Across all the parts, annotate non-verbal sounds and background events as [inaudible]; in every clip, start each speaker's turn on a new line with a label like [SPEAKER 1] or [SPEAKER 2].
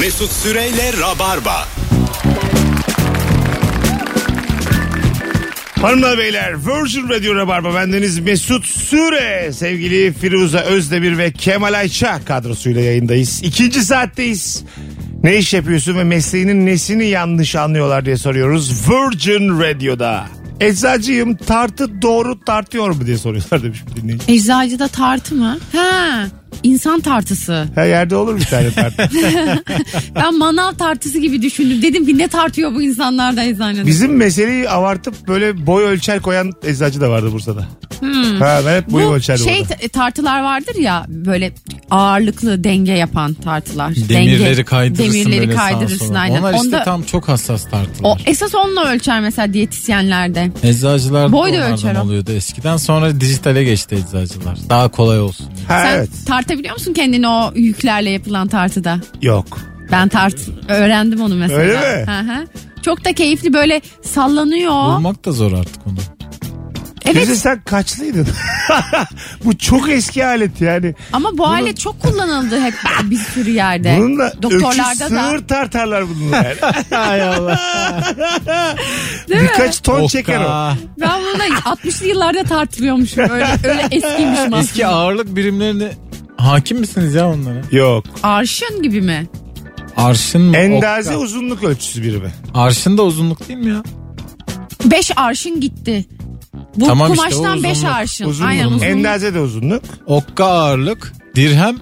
[SPEAKER 1] Mesut Süreyle Rabarba.
[SPEAKER 2] Hanımlar beyler Virgin Radio Rabarba bendeniz Mesut Süre sevgili Firuze Özdemir ve Kemal Ayça kadrosuyla yayındayız. İkinci saatteyiz. Ne iş yapıyorsun ve mesleğinin nesini yanlış anlıyorlar diye soruyoruz Virgin Radio'da. Eczacıyım tartı doğru tartıyor mu diye soruyorlar demiş bir dinleyici.
[SPEAKER 3] Eczacıda tartı mı? Ha, insan tartısı.
[SPEAKER 2] Her yerde olur bir tane
[SPEAKER 3] [laughs]
[SPEAKER 2] tartı.
[SPEAKER 3] Ben manav tartısı gibi düşündüm. Dedim ki ne tartıyor bu insanlar da eczanede.
[SPEAKER 2] Bizim meseleyi avartıp böyle boy ölçer koyan eczacı da vardı Bursa'da. Ha, ben hep boy
[SPEAKER 3] Hmm. bu
[SPEAKER 2] ölçer
[SPEAKER 3] şey t- tartılar vardır ya böyle ağırlıklı denge yapan tartılar.
[SPEAKER 4] Demirleri
[SPEAKER 3] Denge-
[SPEAKER 4] kaydırırsın
[SPEAKER 3] Demirleri
[SPEAKER 4] böyle sağa
[SPEAKER 3] kaydırırsın
[SPEAKER 4] sola.
[SPEAKER 3] aynen.
[SPEAKER 4] Onlar işte
[SPEAKER 3] Onda,
[SPEAKER 4] tam çok hassas tartılar.
[SPEAKER 3] o, esas onunla ölçer mesela diyetisyenlerde.
[SPEAKER 4] Eczacılar
[SPEAKER 3] Boy da
[SPEAKER 4] da
[SPEAKER 3] ölçer
[SPEAKER 4] onlardan
[SPEAKER 3] o.
[SPEAKER 4] oluyordu eskiden. Sonra dijitale geçti eczacılar. Daha kolay olsun.
[SPEAKER 2] Ha,
[SPEAKER 3] Sen
[SPEAKER 2] evet.
[SPEAKER 3] tartabiliyor musun kendini o yüklerle yapılan tartıda?
[SPEAKER 2] Yok.
[SPEAKER 3] Ben tart öğrendim onu mesela.
[SPEAKER 2] Öyle mi?
[SPEAKER 3] Hı hı. Çok da keyifli böyle sallanıyor.
[SPEAKER 4] Bulmak da zor artık onu.
[SPEAKER 3] Evet
[SPEAKER 2] Firuze sen kaçlıydın? [laughs] bu çok eski alet yani.
[SPEAKER 3] Ama bu alet çok kullanıldı hep bir sürü yerde.
[SPEAKER 2] Bununla öküz
[SPEAKER 3] Doktorlarda da.
[SPEAKER 2] sığır tartarlar bununla
[SPEAKER 3] [laughs]
[SPEAKER 2] yani.
[SPEAKER 4] Hay [laughs] Allah.
[SPEAKER 3] Değil mi?
[SPEAKER 2] Birkaç ton çeker o.
[SPEAKER 3] Ben bununla 60'lı yıllarda tartılıyormuşum. Öyle, öyle
[SPEAKER 2] [laughs]
[SPEAKER 3] eskiymişim aslında.
[SPEAKER 4] Eski ağırlık birimlerine hakim misiniz ya onlara?
[SPEAKER 2] Yok.
[SPEAKER 3] Arşın gibi mi?
[SPEAKER 4] Arşın mı?
[SPEAKER 2] Endaze
[SPEAKER 4] Okka.
[SPEAKER 2] uzunluk ölçüsü birimi.
[SPEAKER 4] Arşın da uzunluk değil mi ya?
[SPEAKER 3] 5 arşın gitti. Bu
[SPEAKER 4] Tamam işte, o
[SPEAKER 3] kumaştan 5
[SPEAKER 4] uzunluk.
[SPEAKER 3] arşın.
[SPEAKER 2] Uzunluk.
[SPEAKER 3] Aynen uzunluk.
[SPEAKER 2] Endaze de uzunluk.
[SPEAKER 4] Okka ağırlık, dirhem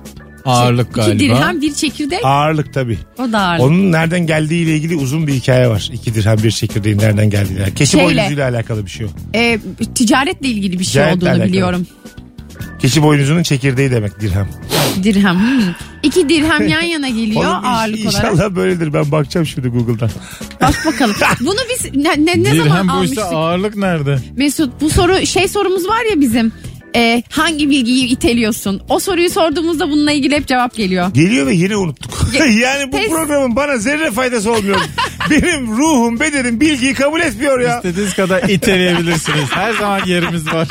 [SPEAKER 4] ağırlık galiba.
[SPEAKER 3] İki dirhem bir çekirdek
[SPEAKER 2] Ağırlık tabii.
[SPEAKER 3] o da ağırlık.
[SPEAKER 2] Onun nereden geldiğiyle ilgili uzun bir hikaye var. İki dirhem bir çekirdeğin nereden geldiğiyle. Keçi
[SPEAKER 3] Şeyle.
[SPEAKER 2] boynuzuyla alakalı bir şey o.
[SPEAKER 3] Ee, ticaretle ilgili bir şey
[SPEAKER 2] Ticaretle
[SPEAKER 3] olduğunu
[SPEAKER 2] alakalı.
[SPEAKER 3] biliyorum.
[SPEAKER 2] Keçi boynuzunun çekirdeği demek dirhem.
[SPEAKER 3] Dirhem. Hmm. İki dirhem yan yana geliyor
[SPEAKER 2] Oğlum,
[SPEAKER 3] ağırlık
[SPEAKER 2] inşallah
[SPEAKER 3] olarak.
[SPEAKER 2] böyledir. Ben bakacağım şimdi Google'dan.
[SPEAKER 3] Bak
[SPEAKER 2] [laughs]
[SPEAKER 3] bakalım. Bunu biz ne, ne, ne zaman
[SPEAKER 4] dirhem
[SPEAKER 3] almıştık?
[SPEAKER 4] buysa ağırlık nerede?
[SPEAKER 3] Mesut bu soru şey sorumuz var ya bizim. Ee, hangi bilgiyi iteliyorsun? O soruyu sorduğumuzda bununla ilgili hep cevap geliyor.
[SPEAKER 2] Geliyor ve yine unuttuk. [laughs] yani bu
[SPEAKER 3] Test-
[SPEAKER 2] programın bana zerre faydası olmuyor.
[SPEAKER 3] [laughs]
[SPEAKER 2] Benim ruhum, bedenim bilgiyi kabul etmiyor ya.
[SPEAKER 4] İstediğiniz kadar iteleyebilirsiniz. Her zaman yerimiz
[SPEAKER 2] [laughs]
[SPEAKER 4] var.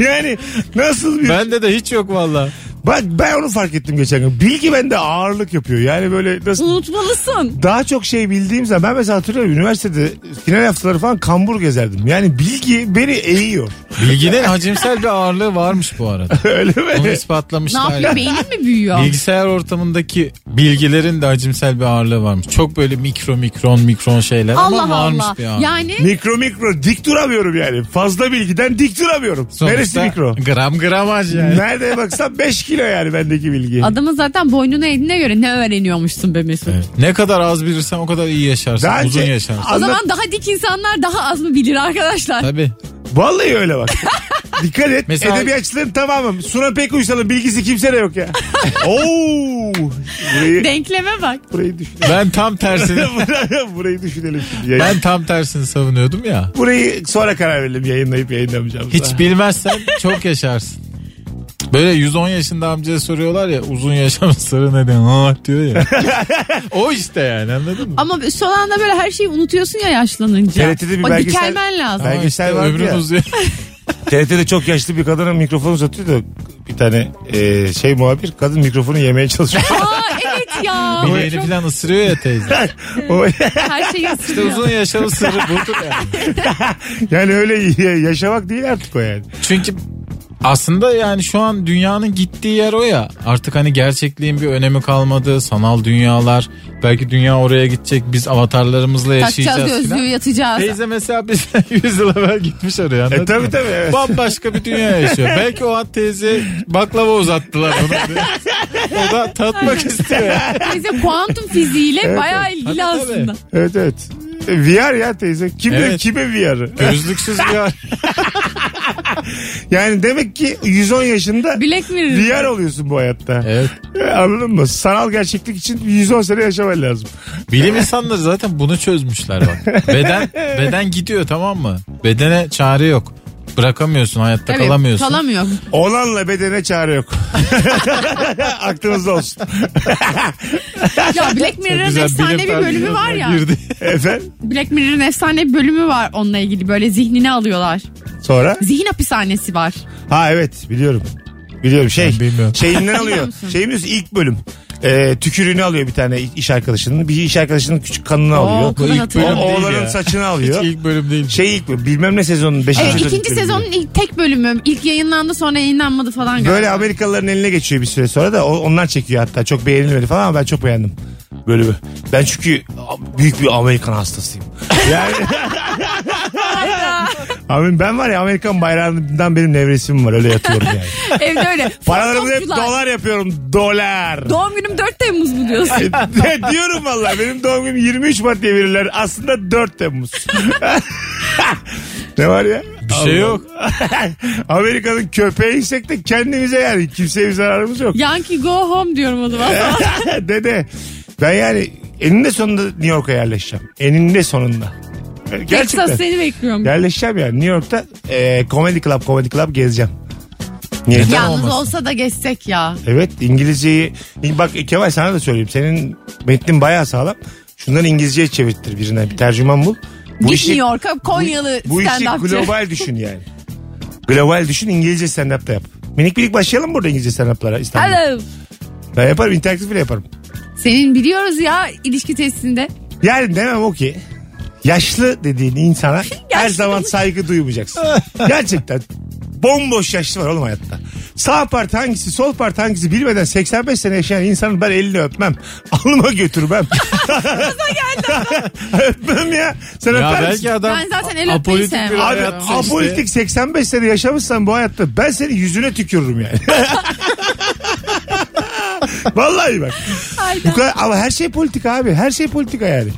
[SPEAKER 2] yani nasıl bir...
[SPEAKER 4] Bende de hiç yok valla.
[SPEAKER 2] Bak ben onu fark ettim geçen gün. Bilgi bende ağırlık yapıyor. Yani böyle nasıl...
[SPEAKER 3] Unutmalısın.
[SPEAKER 2] Daha çok şey bildiğim zaman ben mesela hatırlıyorum üniversitede final haftaları falan kambur gezerdim. Yani bilgi beni eğiyor. [laughs]
[SPEAKER 4] Bilginin hacimsel bir ağırlığı varmış bu arada.
[SPEAKER 2] Öyle
[SPEAKER 4] Onu
[SPEAKER 2] mi?
[SPEAKER 3] Ne
[SPEAKER 4] ispatlamışlar.
[SPEAKER 3] yapıyor beynin mi büyüyor?
[SPEAKER 4] Bilgisayar ortamındaki bilgilerin de hacimsel bir ağırlığı varmış. Çok böyle mikro mikron mikron şeyler ama
[SPEAKER 3] Allah
[SPEAKER 4] varmış
[SPEAKER 3] Allah.
[SPEAKER 4] bir ağırlığı.
[SPEAKER 3] Yani
[SPEAKER 2] mikro mikro dik duramıyorum yani. Fazla bilgiden dik duramıyorum.
[SPEAKER 4] Sonuçta
[SPEAKER 2] Neresi mikro?
[SPEAKER 4] Gram gramaj [laughs] yani.
[SPEAKER 2] Nerede baksam 5 kilo yani bendeki bilgi.
[SPEAKER 3] adamın zaten boynuna eline göre ne öğreniyormuşsun be Mesut?
[SPEAKER 4] Evet. Ne kadar az bilirsen o kadar iyi yaşarsın.
[SPEAKER 2] Daha önce
[SPEAKER 4] Uzun yaşarsın.
[SPEAKER 3] O
[SPEAKER 2] anlat-
[SPEAKER 3] zaman daha dik insanlar daha az mı bilir arkadaşlar?
[SPEAKER 4] Tabii.
[SPEAKER 2] Vallahi öyle
[SPEAKER 4] [laughs]
[SPEAKER 2] bak. Dikkat et.
[SPEAKER 4] Mesela-
[SPEAKER 2] Edebiyatçıların tamamı. Suna pek uysalın bilgisi kimse de yok
[SPEAKER 4] [laughs]
[SPEAKER 2] ya. Oo. Burayı,
[SPEAKER 3] Denkleme bak.
[SPEAKER 2] burayı
[SPEAKER 4] [laughs]
[SPEAKER 2] düşünelim.
[SPEAKER 4] Ben
[SPEAKER 2] [laughs]
[SPEAKER 4] tam tersini
[SPEAKER 2] burayı düşünelim şimdi. Yayın-
[SPEAKER 4] ben tam tersini savunuyordum ya.
[SPEAKER 2] Burayı sonra karar verelim yayınlayıp yayınlamayacağımıza.
[SPEAKER 4] Hiç bilmezsen çok yaşarsın. Böyle 110 yaşında amcaya soruyorlar ya uzun yaşam sırrı nedir? Ha diyor
[SPEAKER 2] [laughs]
[SPEAKER 4] ya. o işte yani anladın mı?
[SPEAKER 3] Ama son anda böyle her şeyi unutuyorsun ya yaşlanınca.
[SPEAKER 2] TRT'de bir
[SPEAKER 3] O
[SPEAKER 2] belgesel-
[SPEAKER 3] dikelmen lazım.
[SPEAKER 2] Belgesel vardı
[SPEAKER 4] ömrün
[SPEAKER 2] ya. [laughs]
[SPEAKER 4] uzuyor.
[SPEAKER 2] TRT'de çok yaşlı bir kadına mikrofon uzatıyor da bir tane e, şey muhabir kadın mikrofonu yemeye
[SPEAKER 4] [laughs]
[SPEAKER 2] çalışıyor. [laughs]
[SPEAKER 3] Aa evet ya.
[SPEAKER 4] Bileğini falan ısırıyor ya teyze.
[SPEAKER 2] O-
[SPEAKER 3] Her şeyi
[SPEAKER 4] İşte
[SPEAKER 3] ısırıyor.
[SPEAKER 4] uzun yaşam sırrı bulduk yani.
[SPEAKER 2] yani öyle ya- yaşamak değil artık o yani.
[SPEAKER 4] Çünkü aslında yani şu an dünyanın gittiği yer o ya. Artık hani gerçekliğin bir önemi kalmadı. Sanal dünyalar. Belki dünya oraya gidecek. Biz avatarlarımızla
[SPEAKER 3] Takacağız
[SPEAKER 4] yaşayacağız.
[SPEAKER 3] gözlüğü
[SPEAKER 4] filan.
[SPEAKER 3] yatacağız.
[SPEAKER 4] Teyze mesela [laughs] bizden 100 yıl evvel gitmiş oraya.
[SPEAKER 2] E
[SPEAKER 4] anladın
[SPEAKER 2] tabi
[SPEAKER 4] mı?
[SPEAKER 2] tabi evet.
[SPEAKER 4] Bambaşka bir dünya yaşıyor. Belki o an teyze baklava uzattılar ona. o da tatmak istiyor.
[SPEAKER 3] Teyze kuantum fiziğiyle bayağı ilgili
[SPEAKER 4] Tabii, tabii.
[SPEAKER 3] aslında.
[SPEAKER 2] Evet evet. E, VR ya teyze. Kimde
[SPEAKER 4] Evet.
[SPEAKER 2] kime VR'ı?
[SPEAKER 4] Gözlüksüz bir yer.
[SPEAKER 2] [laughs] Yani demek ki 110 yaşında
[SPEAKER 3] Bilek Mirror.
[SPEAKER 2] VR oluyorsun bu hayatta.
[SPEAKER 4] Evet.
[SPEAKER 2] E, Anladın mı? Sanal gerçeklik için 110 sene yaşaman lazım.
[SPEAKER 4] Bilim insanları zaten bunu çözmüşler bak. Beden beden gidiyor tamam mı? Bedene çare yok. Bırakamıyorsun hayatta
[SPEAKER 3] Evet,
[SPEAKER 2] [laughs]
[SPEAKER 4] kalamıyorsun.
[SPEAKER 3] Kalamıyor.
[SPEAKER 2] Olanla bedene çare yok. [laughs] Aklınızda olsun.
[SPEAKER 3] Ya Black Mirror'ın efsane bir bölümü var ya.
[SPEAKER 4] Girdi.
[SPEAKER 2] Efendim?
[SPEAKER 3] Black Mirror'ın efsane bir bölümü var onunla ilgili. Böyle zihnini alıyorlar.
[SPEAKER 2] Sonra?
[SPEAKER 3] Zihin hapishanesi var.
[SPEAKER 2] Ha evet biliyorum. Biliyorum şey.
[SPEAKER 4] Ben bilmiyorum.
[SPEAKER 2] Şeyinden
[SPEAKER 3] [laughs] Biliyor
[SPEAKER 2] alıyor.
[SPEAKER 3] musun?
[SPEAKER 2] Şeyimiz ilk bölüm. e, tükürüğünü alıyor bir tane iş arkadaşının. Bir iş arkadaşının küçük kanını alıyor.
[SPEAKER 3] kadar
[SPEAKER 4] ilk
[SPEAKER 2] O
[SPEAKER 3] hatırlamıyorum.
[SPEAKER 4] bölüm değil
[SPEAKER 2] oğlanın
[SPEAKER 4] ya.
[SPEAKER 2] saçını alıyor.
[SPEAKER 4] Hiç ilk bölüm değil.
[SPEAKER 2] Şey ilk mi? Bilmem ne sezonun 5.
[SPEAKER 3] Evet, ikinci sezonun ilk tek bölümü. İlk yayınlandı sonra yayınlanmadı falan galiba.
[SPEAKER 2] Böyle Amerikalıların eline geçiyor bir süre sonra da o- onlar çekiyor hatta çok beğenilmedi falan ama ben çok beğendim bölümü. Ben çünkü büyük bir Amerikan
[SPEAKER 3] [laughs]
[SPEAKER 2] hastasıyım. Yani... Abi ben var ya Amerikan bayrağından benim nevresim var öyle yatıyorum
[SPEAKER 3] [laughs]
[SPEAKER 2] yani.
[SPEAKER 3] [laughs] Evde öyle.
[SPEAKER 2] [laughs] Paralarımı hep
[SPEAKER 3] Fotoğrafçılar.
[SPEAKER 2] dolar yapıyorum dolar.
[SPEAKER 3] Doğum günüm 4 Temmuz
[SPEAKER 2] [laughs]
[SPEAKER 3] mu diyorsun?
[SPEAKER 2] Ne E, diyorum vallahi benim doğum günüm 23 Mart diye verirler aslında 4 Temmuz. [laughs] ne var ya?
[SPEAKER 4] Bir şey yok.
[SPEAKER 2] [laughs] Amerika'nın köpeğiysek de kendimize yani kimseye bir zararımız yok. [laughs]
[SPEAKER 3] Yankee go home diyorum o zaman. [laughs]
[SPEAKER 2] Dede ben yani eninde sonunda New York'a yerleşeceğim. Eninde sonunda. Yani Gerçekten.
[SPEAKER 3] Texas seni bekliyorum.
[SPEAKER 2] Yerleşeceğim yani New York'ta e, Comedy Club Comedy Club gezeceğim. Niye?
[SPEAKER 4] Neden
[SPEAKER 3] Yalnız
[SPEAKER 4] olmasın?
[SPEAKER 3] olsa da geçsek ya.
[SPEAKER 2] Evet İngilizceyi bak Kemal sana da söyleyeyim senin metnin bayağı sağlam. Şundan İngilizceye çevirttir birine bir tercüman bul.
[SPEAKER 3] Git New York'a Konyalı
[SPEAKER 2] bu işi
[SPEAKER 3] stand-upçı.
[SPEAKER 2] global düşün yani. Global düşün İngilizce stand-up da yap. Minik minik başlayalım burada İngilizce stand-up'lara İstanbul'da.
[SPEAKER 3] Hello.
[SPEAKER 2] Ben yaparım interaktif bile yaparım.
[SPEAKER 3] Senin biliyoruz ya ilişki testinde.
[SPEAKER 2] Yani demem o ki yaşlı dediğin insana her zaman saygı duymayacaksın. Gerçekten bomboş yaşlı var oğlum hayatta. Sağ parti hangisi sol parti hangisi bilmeden 85 sene yaşayan insanın ben elini öpmem. Alnıma götürmem. [laughs] öpmem ya. Sen
[SPEAKER 4] Ya
[SPEAKER 2] öper misin?
[SPEAKER 4] belki adam
[SPEAKER 3] Ben zaten el öpmeyi
[SPEAKER 4] apolitik
[SPEAKER 3] sevmem.
[SPEAKER 4] bir
[SPEAKER 2] Abi
[SPEAKER 4] adam işte.
[SPEAKER 2] apolitik 85 sene yaşamışsan bu hayatta ben seni yüzüne tükürürüm yani. Vallahi bak. Bu
[SPEAKER 3] Hayda.
[SPEAKER 2] kadar, ama her şey politik abi. Her şey politika yani.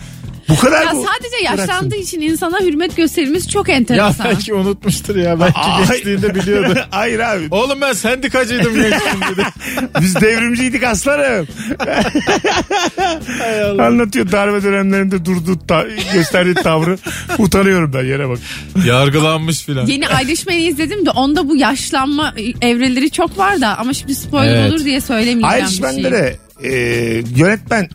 [SPEAKER 2] Bu kadar
[SPEAKER 3] Ya
[SPEAKER 2] bu-
[SPEAKER 3] sadece
[SPEAKER 2] bıraksın.
[SPEAKER 3] yaşlandığı için insana hürmet gösterilmesi çok
[SPEAKER 4] Ya
[SPEAKER 3] enteresan.
[SPEAKER 4] belki unutmuştur ya. Belki
[SPEAKER 2] Ay.
[SPEAKER 4] gençliğinde biliyordu.
[SPEAKER 2] [laughs] Hayır abi.
[SPEAKER 4] Oğlum ben sendikacıydım
[SPEAKER 3] [laughs]
[SPEAKER 4] gençliğimde. de.
[SPEAKER 2] Biz devrimciydik aslanım. Anlatıyor darbe dönemlerinde durduğu ta- gösterdiği tavrı. Utanıyorum ben yere bak.
[SPEAKER 4] Yargılanmış filan.
[SPEAKER 3] Yeni ayrışmayı izledim de onda bu yaşlanma evreleri çok var da ama şimdi spoiler
[SPEAKER 4] Evet.
[SPEAKER 3] olur diye söylemeyeceğim
[SPEAKER 2] Ayrıca
[SPEAKER 3] bir
[SPEAKER 2] bende
[SPEAKER 3] şey.
[SPEAKER 2] de e, yönetmen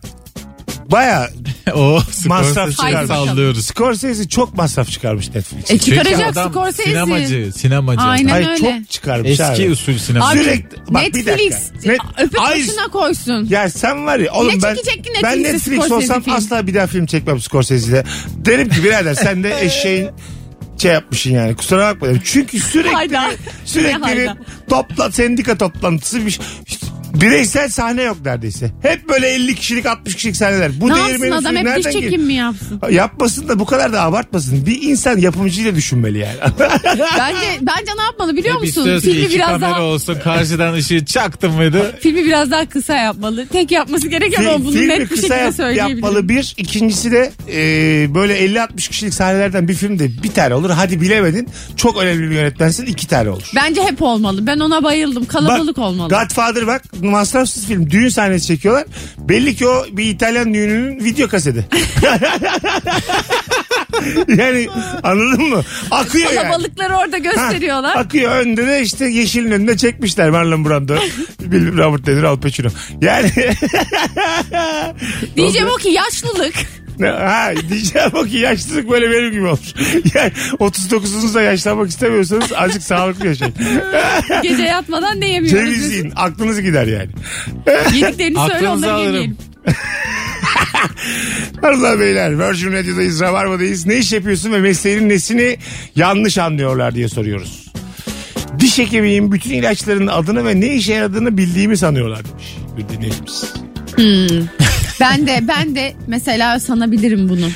[SPEAKER 2] baya
[SPEAKER 4] o
[SPEAKER 2] Masraf
[SPEAKER 4] Scorsese'yi
[SPEAKER 3] çıkarmış.
[SPEAKER 4] sallıyoruz.
[SPEAKER 2] Scorsese çok masraf çıkarmış Netflix.
[SPEAKER 3] E
[SPEAKER 4] Çünkü
[SPEAKER 3] çıkaracak
[SPEAKER 4] adam
[SPEAKER 3] Scorsese.
[SPEAKER 4] Sinemacı, sinemacı.
[SPEAKER 3] Aynen.
[SPEAKER 4] adam.
[SPEAKER 2] Ay
[SPEAKER 3] öyle.
[SPEAKER 2] çok çıkarmış
[SPEAKER 4] Eski
[SPEAKER 2] abi.
[SPEAKER 4] usul sinema.
[SPEAKER 3] Abi,
[SPEAKER 2] Sürekli- bak bir
[SPEAKER 3] Netflix
[SPEAKER 2] dakika. Net-
[SPEAKER 3] öpüp
[SPEAKER 2] Ay-
[SPEAKER 3] başına koysun.
[SPEAKER 2] Ya sen var ya oğlum
[SPEAKER 3] Ne
[SPEAKER 2] ben
[SPEAKER 3] çekecek ki
[SPEAKER 2] ben
[SPEAKER 3] Netflix'e
[SPEAKER 2] Netflix
[SPEAKER 3] Scorsese
[SPEAKER 2] olsam
[SPEAKER 3] film?
[SPEAKER 2] asla bir daha film çekmem Scorsese'yle. Derim ki birader sen
[SPEAKER 3] [laughs]
[SPEAKER 2] de eşeğin şey yapmışsın yani kusura bakma. derim. Çünkü sürekli
[SPEAKER 3] Hayda.
[SPEAKER 2] sürekli
[SPEAKER 3] Ne
[SPEAKER 2] bir
[SPEAKER 3] hayda.
[SPEAKER 2] topla sendika toplantısı bir bireysel sahne yok neredeyse. Hep böyle 50 kişilik 60 kişilik sahneler. Bu
[SPEAKER 3] Ne yapsın
[SPEAKER 2] değirmenin
[SPEAKER 3] adam
[SPEAKER 2] suyu
[SPEAKER 3] hep diş
[SPEAKER 2] nereden
[SPEAKER 3] çekim
[SPEAKER 2] geliyor?
[SPEAKER 3] mi
[SPEAKER 2] [laughs]
[SPEAKER 3] yapsın?
[SPEAKER 2] Yapmasın da bu kadar da abartmasın. Bir insan yapımcıyı da düşünmeli yani. [laughs]
[SPEAKER 3] Bence bence ne yapmalı biliyor
[SPEAKER 4] Hep
[SPEAKER 3] musun?
[SPEAKER 4] istiyorsa
[SPEAKER 3] Filmi
[SPEAKER 4] iki
[SPEAKER 3] biraz
[SPEAKER 4] kamera
[SPEAKER 3] daha
[SPEAKER 4] olsa karşıdan ışığı çaktın mıydı?
[SPEAKER 3] filmi biraz daha kısa yapmalı. Tek yapması gereken o bunu
[SPEAKER 2] filmi
[SPEAKER 3] net bir
[SPEAKER 2] kısa
[SPEAKER 3] şekilde
[SPEAKER 2] yap-
[SPEAKER 3] söyleyebilirim.
[SPEAKER 2] yapmalı bir. İkincisi de e, böyle 50-60 kişilik sahnelerden bir filmde bir tane olur. Hadi bilemedin. Çok önemli bir yönetmensin iki tane olur.
[SPEAKER 3] Bence hep olmalı. Ben ona bayıldım. Kalabalık
[SPEAKER 2] Bak,
[SPEAKER 3] olmalı.
[SPEAKER 2] Godfather bak masrafsız film. Düğün sahnesi çekiyorlar. Belli ki o bir İtalyan düğününün video kaseti. [laughs] yani anladın mı? Akıyor yani.
[SPEAKER 3] Kalabalıkları orada
[SPEAKER 2] Ha,
[SPEAKER 3] gösteriyorlar.
[SPEAKER 2] Akıyor önde de işte yeşilin önünde çekmişler Marlon Brando. Bilmiyorum Robert De Niro, Al Pacino. Yani
[SPEAKER 3] Diyeceğim o
[SPEAKER 2] [laughs]
[SPEAKER 3] ki yaşlılık.
[SPEAKER 2] Ne- Ha diyeceğim o ki yaşlılık böyle benim gibi olmuş. [laughs] Yani 39'unuzda yaşlanmak istemiyorsanız azıcık sağlıklı yaşayın. [laughs]
[SPEAKER 3] Gece yatmadan ne yemiyoruz? biz?
[SPEAKER 2] Cevizleyin aklınız gider yani.
[SPEAKER 3] Yediklerini söyle
[SPEAKER 4] Aklınızı
[SPEAKER 3] onları
[SPEAKER 4] alırım.
[SPEAKER 3] yemeyelim.
[SPEAKER 2] Hanımlar beyler Virgin Radio'dayız Rabarba'dayız. Ne iş yapıyorsun ve mesleğinin nesini yanlış anlıyorlar diye soruyoruz. Diş hekimiyim bütün ilaçların adını ve ne işe yaradığını bildiğimi sanıyorlar demiş. Bir dinleyicimiz.
[SPEAKER 3] Ben de ben de mesela sanabilirim bunu.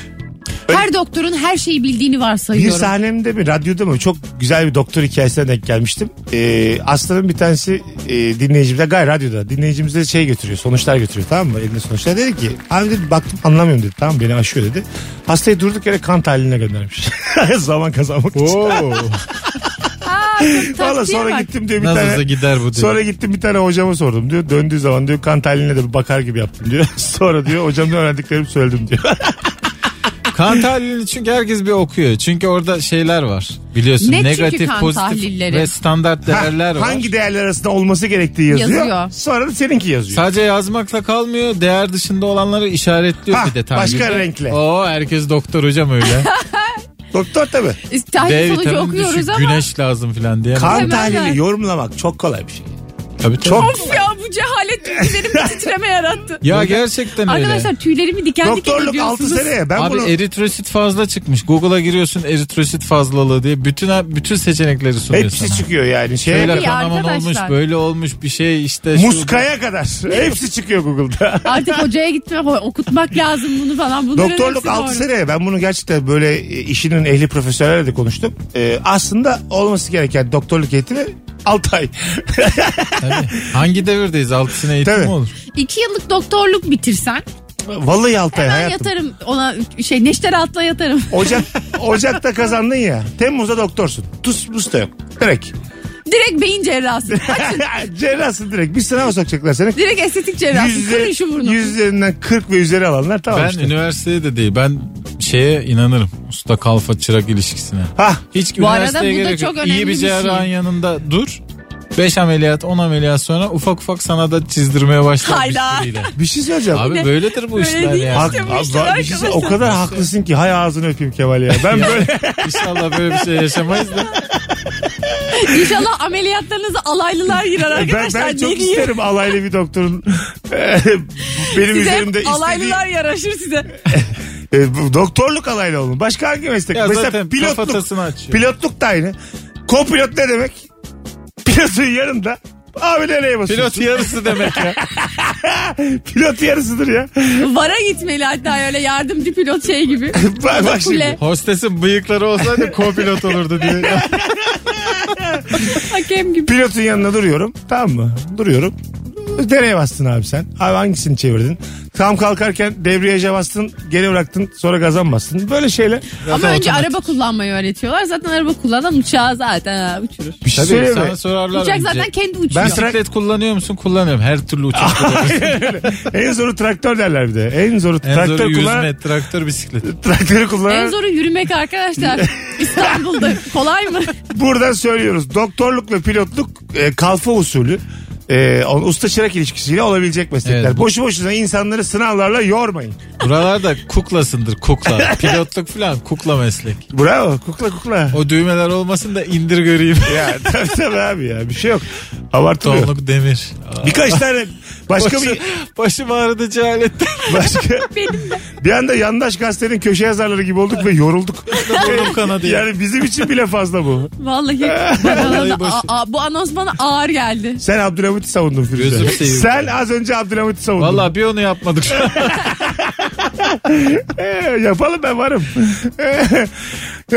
[SPEAKER 3] Her doktorun her şeyi bildiğini
[SPEAKER 2] Bir
[SPEAKER 3] varsayıyorum.
[SPEAKER 2] sahnemde mi radyoda mı çok güzel bir doktor hikayesine denk gelmiştim. Ee, Aslan'ın bir tanesi e, dinleyicimde gay radyoda dinleyicimize şey götürüyor sonuçlar götürüyor tamam mı elinde sonuçlar dedi ki abi dedi baktım anlamıyorum dedi tamam beni aşıyor dedi. Hastayı durduk yere kan tahliline göndermiş. [laughs] Zaman kazanmak için.
[SPEAKER 4] Oo.
[SPEAKER 2] [laughs] Valla [laughs]
[SPEAKER 3] Taktiğe
[SPEAKER 2] sonra
[SPEAKER 3] bak.
[SPEAKER 2] gittim diyor [laughs] bir
[SPEAKER 4] Nasıl
[SPEAKER 2] tane.
[SPEAKER 4] olsa gider bu diyor.
[SPEAKER 2] Sonra gittim bir tane hocama sordum diyor. Döndüğü zaman diyor kan tahliline de bir bakar gibi yaptım diyor. [laughs] Sonra diyor hocamdan öğrendiklerimi söyledim diyor.
[SPEAKER 4] Kan tahlilini çünkü herkes bir okuyor. Çünkü orada şeyler var. Biliyorsun
[SPEAKER 3] Ne çünkü
[SPEAKER 4] negatif,
[SPEAKER 3] kan
[SPEAKER 4] pozitif
[SPEAKER 3] tahlilleri?
[SPEAKER 4] ve standart
[SPEAKER 2] Ha, [laughs]
[SPEAKER 4] değerler var.
[SPEAKER 2] hangi değerler arasında olması gerektiği yazıyor.
[SPEAKER 3] Yazıyor.
[SPEAKER 2] Sonra da seninki yazıyor.
[SPEAKER 4] Sadece yazmakla kalmıyor. Değer dışında olanları işaretliyor
[SPEAKER 2] Ha,
[SPEAKER 4] bir de tahlilde.
[SPEAKER 2] başka renkle.
[SPEAKER 4] Oo herkes doktor hocam öyle.
[SPEAKER 2] Doktor tabii.
[SPEAKER 3] Tahlil
[SPEAKER 4] D
[SPEAKER 3] sonucu
[SPEAKER 4] vitamini
[SPEAKER 3] okuyoruz
[SPEAKER 4] düşük,
[SPEAKER 3] ama
[SPEAKER 4] güneş lazım filan diye.
[SPEAKER 2] Kan
[SPEAKER 3] Hemen ver.
[SPEAKER 2] tahlili yorumlamak çok kolay bir şey.
[SPEAKER 4] Tabii, tabii.
[SPEAKER 2] Çok-
[SPEAKER 3] Of ya bu cehalet tüylerimde titreme yarattı.
[SPEAKER 4] Ya gerçekten öyle.
[SPEAKER 3] Arkadaşlar tüylerimi diken diken
[SPEAKER 2] Doktorluk 6
[SPEAKER 3] ediyorsunuz.
[SPEAKER 2] seneye ben
[SPEAKER 4] Abi
[SPEAKER 2] bunu
[SPEAKER 4] eritrosit fazla çıkmış. Google'a giriyorsun eritrosit fazlalığı diye bütün bütün seçenekleri sunuyor
[SPEAKER 2] hepsi
[SPEAKER 4] sana.
[SPEAKER 2] çıkıyor yani. Şey, Şeye
[SPEAKER 4] Şöyle
[SPEAKER 3] Tabii
[SPEAKER 4] kanaman olmuş,
[SPEAKER 3] arkadaşlar.
[SPEAKER 4] böyle olmuş bir şey işte. şu-
[SPEAKER 2] muskaya kadar. Hepsi çıkıyor Google'da.
[SPEAKER 3] Artık hocaya gitmek, okutmak lazım bunu falan.
[SPEAKER 2] [laughs]
[SPEAKER 3] Bunların
[SPEAKER 2] Doktorluk
[SPEAKER 3] hepsi
[SPEAKER 2] 6
[SPEAKER 3] doğru.
[SPEAKER 2] seneye ben bunu gerçekten böyle e, işinin ehli profesörlerle de konuştum. Ee, aslında olması gereken doktorluk eğitimi 6 ay. [laughs]
[SPEAKER 4] Tabii. Hangi devirdeyiz? Altısına eğitim
[SPEAKER 2] Tabii.
[SPEAKER 4] mi olur?
[SPEAKER 3] İki yıllık doktorluk bitirsen
[SPEAKER 2] Vallahi 6 ay
[SPEAKER 3] ben
[SPEAKER 2] E, hayatım.
[SPEAKER 3] yatarım ona şey neşter altına yatarım. [laughs]
[SPEAKER 2] Ocak, Ocak'ta kazandın ya. Temmuz'da doktorsun. Tuz buz da yok. Direkt.
[SPEAKER 3] Direkt beyin cerrahsı.
[SPEAKER 2] [laughs] Cerrahsın direkt. Bir sınava sokacaklar seni.
[SPEAKER 3] Direkt estetik cerrahsı.
[SPEAKER 2] Yüzde-
[SPEAKER 3] Kırın şu burnu.
[SPEAKER 2] yüzlerinden 40 ve üzeri alanlar tamam
[SPEAKER 4] Ben
[SPEAKER 2] işte.
[SPEAKER 4] üniversitede de değil. Ben şeye inanırım. Usta kalfa çırak ilişkisine.
[SPEAKER 2] Hah.
[SPEAKER 4] Hiç
[SPEAKER 3] Bu arada
[SPEAKER 4] üniversiteye
[SPEAKER 3] bu da
[SPEAKER 4] gerek
[SPEAKER 3] çok
[SPEAKER 4] yok.
[SPEAKER 3] önemli
[SPEAKER 4] İyi bir
[SPEAKER 3] bir
[SPEAKER 4] cerrahın
[SPEAKER 3] şey.
[SPEAKER 4] yanında dur. 5 ameliyat 10 ameliyat sonra ufak ufak sana da çizdirmeye başlar.
[SPEAKER 3] Hayda. [laughs]
[SPEAKER 4] müşteriyle.
[SPEAKER 2] Bir şey söyleyeceğim.
[SPEAKER 4] Abi böyledir bu
[SPEAKER 3] Böyle
[SPEAKER 4] işler
[SPEAKER 3] değil.
[SPEAKER 4] yani.
[SPEAKER 2] Hak-
[SPEAKER 3] İşte bu
[SPEAKER 2] abi,
[SPEAKER 3] işler
[SPEAKER 2] bir şey söyle- o
[SPEAKER 3] arkadaşlar.
[SPEAKER 2] kadar haklısın ki hay ağzını öpeyim Kemal ya.
[SPEAKER 4] [laughs]
[SPEAKER 2] Ben böyle
[SPEAKER 4] İnşallah böyle bir şey yaşamayız da.
[SPEAKER 3] İnşallah ameliyatlarınızı alaylılar girer
[SPEAKER 2] ben,
[SPEAKER 3] arkadaşlar.
[SPEAKER 2] ben
[SPEAKER 3] ne
[SPEAKER 2] çok
[SPEAKER 3] diyeyim?
[SPEAKER 2] isterim alaylı bir
[SPEAKER 3] [laughs]
[SPEAKER 2] doktorun benim
[SPEAKER 3] Size
[SPEAKER 2] üzerimde
[SPEAKER 3] hep
[SPEAKER 2] istediği
[SPEAKER 3] alaylılar yaraşır size.
[SPEAKER 2] E, bu doktorluk alaylı olun. Başka hangi meslek?
[SPEAKER 4] Ya
[SPEAKER 2] Mesela
[SPEAKER 4] zaten
[SPEAKER 2] pilotluk.
[SPEAKER 4] kafatasını açıyor.
[SPEAKER 2] Pilotluk da aynı. Kopilot ne demek? Pilotun yanında abi nereye
[SPEAKER 4] Pilot
[SPEAKER 2] basıyorsun?
[SPEAKER 4] yarısı demek ya.
[SPEAKER 2] Pilot, yarısıdır ya.
[SPEAKER 3] Vara gitmeli hatta öyle yardımcı pilot
[SPEAKER 2] [laughs]
[SPEAKER 3] şey gibi.
[SPEAKER 2] bak, bak şimdi.
[SPEAKER 3] Kule.
[SPEAKER 4] [laughs] Hostesin bıyıkları olsaydı co-pilot olurdu diye.
[SPEAKER 3] Hakem gibi.
[SPEAKER 2] Pilotun yanında duruyorum. Tamam mı? Duruyorum. Nereye bastın abi sen? Abi hangisini çevirdin? Tam kalkarken devriyaja bastın, geri bıraktın, sonra gaza mı bastın? Böyle şeyler. [laughs]
[SPEAKER 3] Ama önce araba kullanmayı öğretiyorlar. Zaten araba kullanan uçağı zaten ha, uçurur.
[SPEAKER 2] [laughs] Bir şey
[SPEAKER 4] Tabii
[SPEAKER 2] söyleyeyim mi?
[SPEAKER 4] sana sorarlar
[SPEAKER 3] Uçak
[SPEAKER 4] önce.
[SPEAKER 3] zaten kendi uçuyor.
[SPEAKER 2] Ben Ah,
[SPEAKER 3] Ben
[SPEAKER 2] tra-
[SPEAKER 4] Bisiklet kullanıyor musun? Kullanıyorum. Her türlü uçak kullanıyorum.
[SPEAKER 2] En zoru traktör derler bir de. En zoru
[SPEAKER 4] en
[SPEAKER 2] traktör
[SPEAKER 4] zoru
[SPEAKER 2] kullanan...
[SPEAKER 4] yüzme, traktör,
[SPEAKER 2] [laughs]
[SPEAKER 4] bisiklet.
[SPEAKER 2] Traktörü kullanan...
[SPEAKER 3] en zoru
[SPEAKER 2] [laughs]
[SPEAKER 3] yürümek arkadaşlar. İstanbul'da kolay mı?
[SPEAKER 2] Buradan söylüyoruz. Doktorluk ve pilotluk e, kalfa usulü. E, o- usta çırak ilişkisiyle olabilecek meslekler.
[SPEAKER 4] Evet, bu-
[SPEAKER 2] Boşu boşuna insanları sınavlarla yormayın.
[SPEAKER 4] Buralarda kuklasındır
[SPEAKER 2] [laughs]
[SPEAKER 4] kukla. Pilotluk falan kukla meslek.
[SPEAKER 2] Bravo. Kukla kukla.
[SPEAKER 4] O düğmeler olmasın da indir göreyim.
[SPEAKER 2] [laughs] ya tabii tabii abi ya. Bir şey yok. Abartılıyor.
[SPEAKER 4] Tonluk demir. Aa,
[SPEAKER 2] Birkaç tane başka
[SPEAKER 4] başı,
[SPEAKER 2] bir
[SPEAKER 4] başım ağrıdı cehaletten.
[SPEAKER 2] başka bir anda yandaş gazetenin köşe yazarları gibi olduk ve yorulduk. [laughs]
[SPEAKER 4] Burnum kanadı ya.
[SPEAKER 2] yani bizim için bile fazla bu.
[SPEAKER 3] Vallahi bana da-
[SPEAKER 4] başı.
[SPEAKER 3] Aa, bu anons bana ağır geldi.
[SPEAKER 2] Sen Abdülhamit'i savundun
[SPEAKER 4] Gözüm
[SPEAKER 2] Firuze.
[SPEAKER 4] seveyim.
[SPEAKER 2] Sen az önce Abdülhamit'i savundun.
[SPEAKER 4] Valla bir onu yapmadık. [laughs]
[SPEAKER 2] Ee, yapalım ben varım. Ee,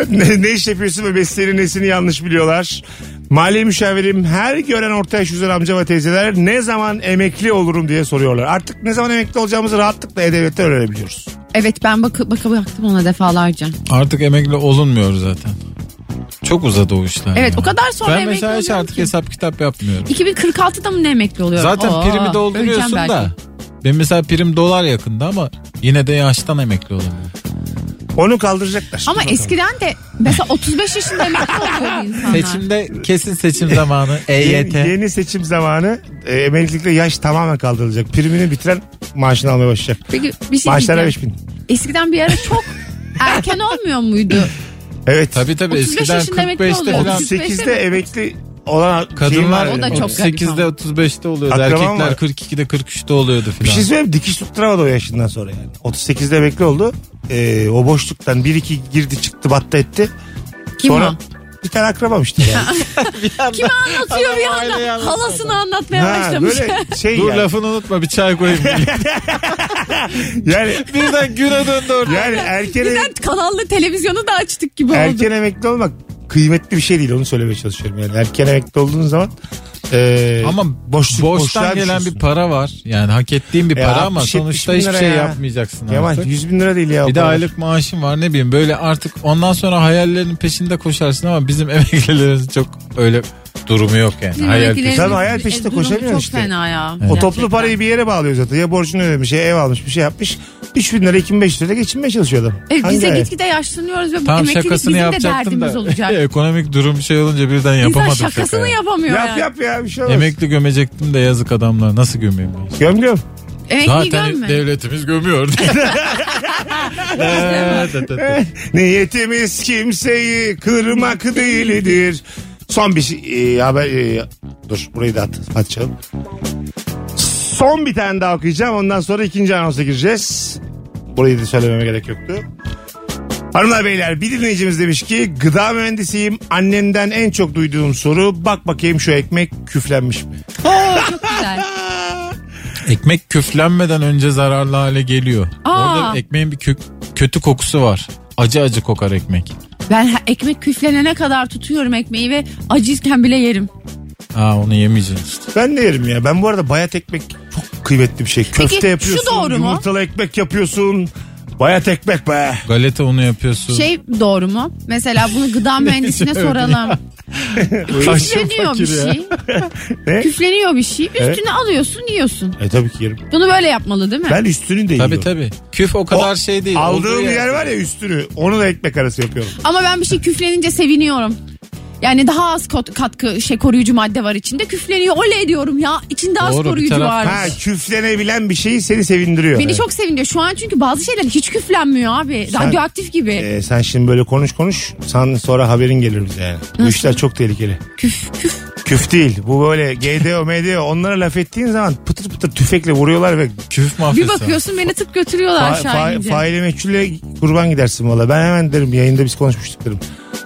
[SPEAKER 2] ne, ne iş yapıyorsun ve mesleğinin nesini yanlış biliyorlar. Mali müşavirim her gören orta yaş yüzden amca ve teyzeler ne zaman emekli olurum diye soruyorlar. Artık ne zaman emekli olacağımızı rahatlıkla e-devlette öğrenebiliyoruz.
[SPEAKER 3] Evet ben baka baka baktım ona defalarca.
[SPEAKER 4] artık emekli olunmuyor zaten. Çok uzadı o işler.
[SPEAKER 3] Evet
[SPEAKER 4] ya.
[SPEAKER 3] o kadar sonra
[SPEAKER 4] Ben
[SPEAKER 3] emekli
[SPEAKER 4] mesela hiç
[SPEAKER 3] oluyorum
[SPEAKER 4] artık
[SPEAKER 3] ki.
[SPEAKER 4] hesap kitap yapmıyorum.
[SPEAKER 3] 2046'da mı ne emekli oluyor?
[SPEAKER 4] Zaten
[SPEAKER 3] Oo,
[SPEAKER 4] primi
[SPEAKER 3] öleceğim
[SPEAKER 4] dolduruyorsun
[SPEAKER 3] belki.
[SPEAKER 4] da. Ben mesela prim dolar yakında ama yine de yaştan emekli olamıyorum.
[SPEAKER 2] Onu kaldıracaklar.
[SPEAKER 3] Ama eskiden de mesela 35 yaşında emekli oluyordu insanlar.
[SPEAKER 4] Seçimde kesin seçim zamanı
[SPEAKER 2] [laughs]
[SPEAKER 4] E
[SPEAKER 2] Yeni,
[SPEAKER 4] EYT.
[SPEAKER 2] yeni seçim zamanı e, emeklilikte yaş tamamen kaldırılacak. Primini bitiren maaşını almaya başlayacak.
[SPEAKER 3] Peki bir şey
[SPEAKER 2] Maaşlara
[SPEAKER 3] diyeceğim.
[SPEAKER 2] 5000.
[SPEAKER 3] Eskiden bir ara çok erken olmuyor muydu?
[SPEAKER 2] Evet.
[SPEAKER 4] Tabii tabii
[SPEAKER 3] 35
[SPEAKER 4] eskiden
[SPEAKER 3] yaşında emekli
[SPEAKER 4] 45'te
[SPEAKER 3] oluyor.
[SPEAKER 4] falan
[SPEAKER 2] 38'de emekli olan şeyim var
[SPEAKER 4] Kadınlar
[SPEAKER 2] öyle.
[SPEAKER 3] O da çok garip
[SPEAKER 4] 38'de 35'te oluyordu.
[SPEAKER 2] Akrabam
[SPEAKER 4] Erkekler
[SPEAKER 2] var.
[SPEAKER 4] 42'de 43'te oluyordu
[SPEAKER 2] Bir
[SPEAKER 4] filan.
[SPEAKER 2] şey söyleyeyim mi? dikiş tutturamadı o yaşından sonra yani. 38'de emekli oldu. Ee, o boşluktan 1-2 girdi çıktı battı etti.
[SPEAKER 3] Kim
[SPEAKER 2] sonra
[SPEAKER 3] o?
[SPEAKER 2] bir tane akrabam işte
[SPEAKER 3] [laughs]
[SPEAKER 2] yani.
[SPEAKER 3] Kime anlatıyor bir anda? Halasını anlatmaya
[SPEAKER 2] ha,
[SPEAKER 3] başlamış.
[SPEAKER 2] böyle şey
[SPEAKER 4] Dur
[SPEAKER 2] yani.
[SPEAKER 4] lafını unutma bir çay koyayım.
[SPEAKER 2] [laughs] yani.
[SPEAKER 4] Birden güne döndü orada.
[SPEAKER 2] Yani erken,
[SPEAKER 3] Birden kanallı televizyonu da açtık gibi oldu.
[SPEAKER 2] erken emekli olmak kıymetli bir şey değil onu söylemeye çalışıyorum yani. Erken emekli olduğun zaman e,
[SPEAKER 4] Ama
[SPEAKER 2] boşluk, boşluğa
[SPEAKER 4] boştan gelen bir
[SPEAKER 2] düşüyorsun.
[SPEAKER 4] para var. Yani hak ettiğin bir
[SPEAKER 2] Ya
[SPEAKER 4] para ama
[SPEAKER 2] 60-70
[SPEAKER 4] sonuçta
[SPEAKER 2] bin
[SPEAKER 4] hiçbir
[SPEAKER 2] lira
[SPEAKER 4] şey
[SPEAKER 2] ya.
[SPEAKER 4] yapmayacaksın
[SPEAKER 2] Yaman
[SPEAKER 4] artık.
[SPEAKER 2] 100 bin lira değil ya. o
[SPEAKER 4] Bir de
[SPEAKER 2] kadar.
[SPEAKER 4] aylık maaşın var ne bileyim böyle artık ondan sonra hayallerin peşinde koşarsın ama bizim [laughs] emeklilerin çok öyle durumu yok yani.
[SPEAKER 3] Bizim
[SPEAKER 4] Hayal
[SPEAKER 3] emeklilerin
[SPEAKER 4] peşinde.
[SPEAKER 2] Tabii hayal
[SPEAKER 3] e,
[SPEAKER 2] peşinde
[SPEAKER 3] durumu
[SPEAKER 2] koşamıyorsun
[SPEAKER 3] Çok
[SPEAKER 2] işte.
[SPEAKER 3] fena ya.
[SPEAKER 2] O
[SPEAKER 3] gerçekten.
[SPEAKER 2] toplu parayı bir yere bağlıyor zaten. Ya borcunu ödemiş, ya ev almış, bir şey yapmış. 3000 lira, 2500 lira geçinmeye çalışıyor adam.
[SPEAKER 3] E,
[SPEAKER 2] Hangi
[SPEAKER 3] bize
[SPEAKER 2] hayal?
[SPEAKER 3] gitgide yaşlanıyoruz ve bu
[SPEAKER 4] Tam
[SPEAKER 3] emeklilik bizim
[SPEAKER 4] şakasını
[SPEAKER 3] de
[SPEAKER 4] yapacaktım
[SPEAKER 3] derdimiz
[SPEAKER 4] da
[SPEAKER 3] olacak.
[SPEAKER 4] [laughs] ekonomik durum şey olunca birden yapamadım.
[SPEAKER 3] İnsan şakasını
[SPEAKER 4] şakayı.
[SPEAKER 3] yapamıyor
[SPEAKER 2] Yap
[SPEAKER 3] yani.
[SPEAKER 2] yap ya bir şey olmaz.
[SPEAKER 4] Emekli gömecektim de yazık adamlar nasıl gömeyim ben?
[SPEAKER 2] Gömlüyorum.
[SPEAKER 3] Emekli
[SPEAKER 4] Zaten
[SPEAKER 3] gömme. [laughs]
[SPEAKER 4] devletimiz gömüyor. [laughs]
[SPEAKER 2] [laughs] Niyetimiz kimseyi kırmak değildir. Son bir şey, e, haber... e, dur burayı da at, atacağım. Son bir tane daha okuyacağım. Ondan sonra ikinci anonsa gireceğiz. Burayı da söylememe gerek yoktu. Hanımlar beyler bir dinleyicimiz demiş ki gıda mühendisiyim. Annemden en çok duyduğum soru bak bakayım şu ekmek küflenmiş mi?
[SPEAKER 3] Oo, çok güzel.
[SPEAKER 2] [laughs]
[SPEAKER 4] Ekmek küflenmeden önce zararlı hale geliyor.
[SPEAKER 3] Aa.
[SPEAKER 4] Orada ekmeğin bir kök, kötü kokusu var. Acı acı kokar ekmek.
[SPEAKER 3] Ben ha- ekmek küflenene kadar tutuyorum ekmeği ve acizken bile yerim.
[SPEAKER 4] Aa onu yemeyeceksin işte.
[SPEAKER 2] Ben de yerim ya. Ben bu arada bayat ekmek çok kıymetli bir şey. Köfte
[SPEAKER 3] şu
[SPEAKER 2] yapıyorsun.
[SPEAKER 3] doğru mu?
[SPEAKER 2] Yumurtalı ekmek yapıyorsun. Bayat ekmek be.
[SPEAKER 4] Galeta unu yapıyorsun.
[SPEAKER 3] Şey doğru mu? Mesela bunu
[SPEAKER 4] [laughs]
[SPEAKER 3] gıda mühendisine
[SPEAKER 4] söyledin
[SPEAKER 3] soralım. Küfleniyor bir
[SPEAKER 4] Aşırı fakir ya.
[SPEAKER 3] şey.
[SPEAKER 2] [laughs] Ne?
[SPEAKER 3] Küfleniyor bir şey. Üstüne alıyorsun yiyorsun.
[SPEAKER 2] E tabii ki yerim.
[SPEAKER 3] Bunu böyle yapmalı değil mi?
[SPEAKER 2] Ben üstünü de yiyorum.
[SPEAKER 4] Tabii tabii. Küf o
[SPEAKER 2] O
[SPEAKER 4] kadar şey değil. Olduğu
[SPEAKER 2] Aldığım yer var ya üstünü. Onu da ekmek arası yapıyorum.
[SPEAKER 3] Ama ben bir şey küflenince seviniyorum. Yani daha az kot- katkı şey koruyucu madde var içinde. Küfleniyor. Oley diyorum ya. İçinde az
[SPEAKER 4] Doğru, bir
[SPEAKER 3] koruyucu
[SPEAKER 4] taraf-
[SPEAKER 3] varmış.
[SPEAKER 2] Ha küflenebilen bir şey seni sevindiriyor.
[SPEAKER 3] Beni çok seviniyor. Şu an çünkü bazı şeyler hiç küflenmiyor abi. Radyoaktif gibi.
[SPEAKER 2] Ee, sen şimdi böyle konuş konuş. Sen sonra haberin gelir bize yani. Bu işler çok tehlikeli.
[SPEAKER 3] Küf küf.
[SPEAKER 2] Küf değil. Bu böyle GDO, MDO onlara laf ettiğin zaman pıtır pıtır tüfekle vuruyorlar ve
[SPEAKER 4] Küf mafyası.
[SPEAKER 3] Bir bakıyorsun beni tıp götürüyorlar
[SPEAKER 2] fa-
[SPEAKER 3] aşağı
[SPEAKER 2] fa-
[SPEAKER 3] inince.
[SPEAKER 2] faile meçhulle kurban gidersin valla. Ben hemen derim yayında biz konuşmuştuk derim.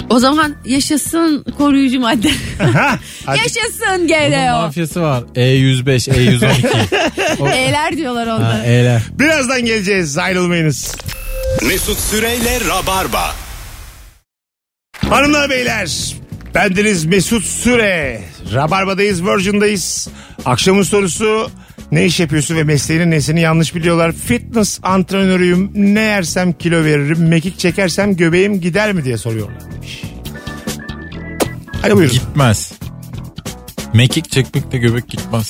[SPEAKER 3] O zaman yaşasın koruyucu madde.
[SPEAKER 2] [laughs] Hadi.
[SPEAKER 3] yaşasın
[SPEAKER 4] Bunun
[SPEAKER 3] GDO.
[SPEAKER 4] mafyası var. E E105,
[SPEAKER 2] [laughs]
[SPEAKER 3] [laughs]
[SPEAKER 4] E112.
[SPEAKER 3] Eğler diyorlar onda.
[SPEAKER 2] e,
[SPEAKER 4] ha, eyle.
[SPEAKER 2] Birazdan geleceğiz ayrılmayınız.
[SPEAKER 1] Mesut Süreyle Rabarba.
[SPEAKER 2] Hanımlar beyler bendeniz Mesut Süre. Rabarba'dayız Virgin'dayız. Akşamın sorusu ne iş yapıyorsun ve mesleğinin nesini yanlış biliyorlar. Fitness antrenörüyüm ne yersem kilo veririm mekik çekersem göbeğim gider mi diye soruyorlar. Hadi buyurun.
[SPEAKER 4] Gitmez. Mekik çekmekle göbek gitmez.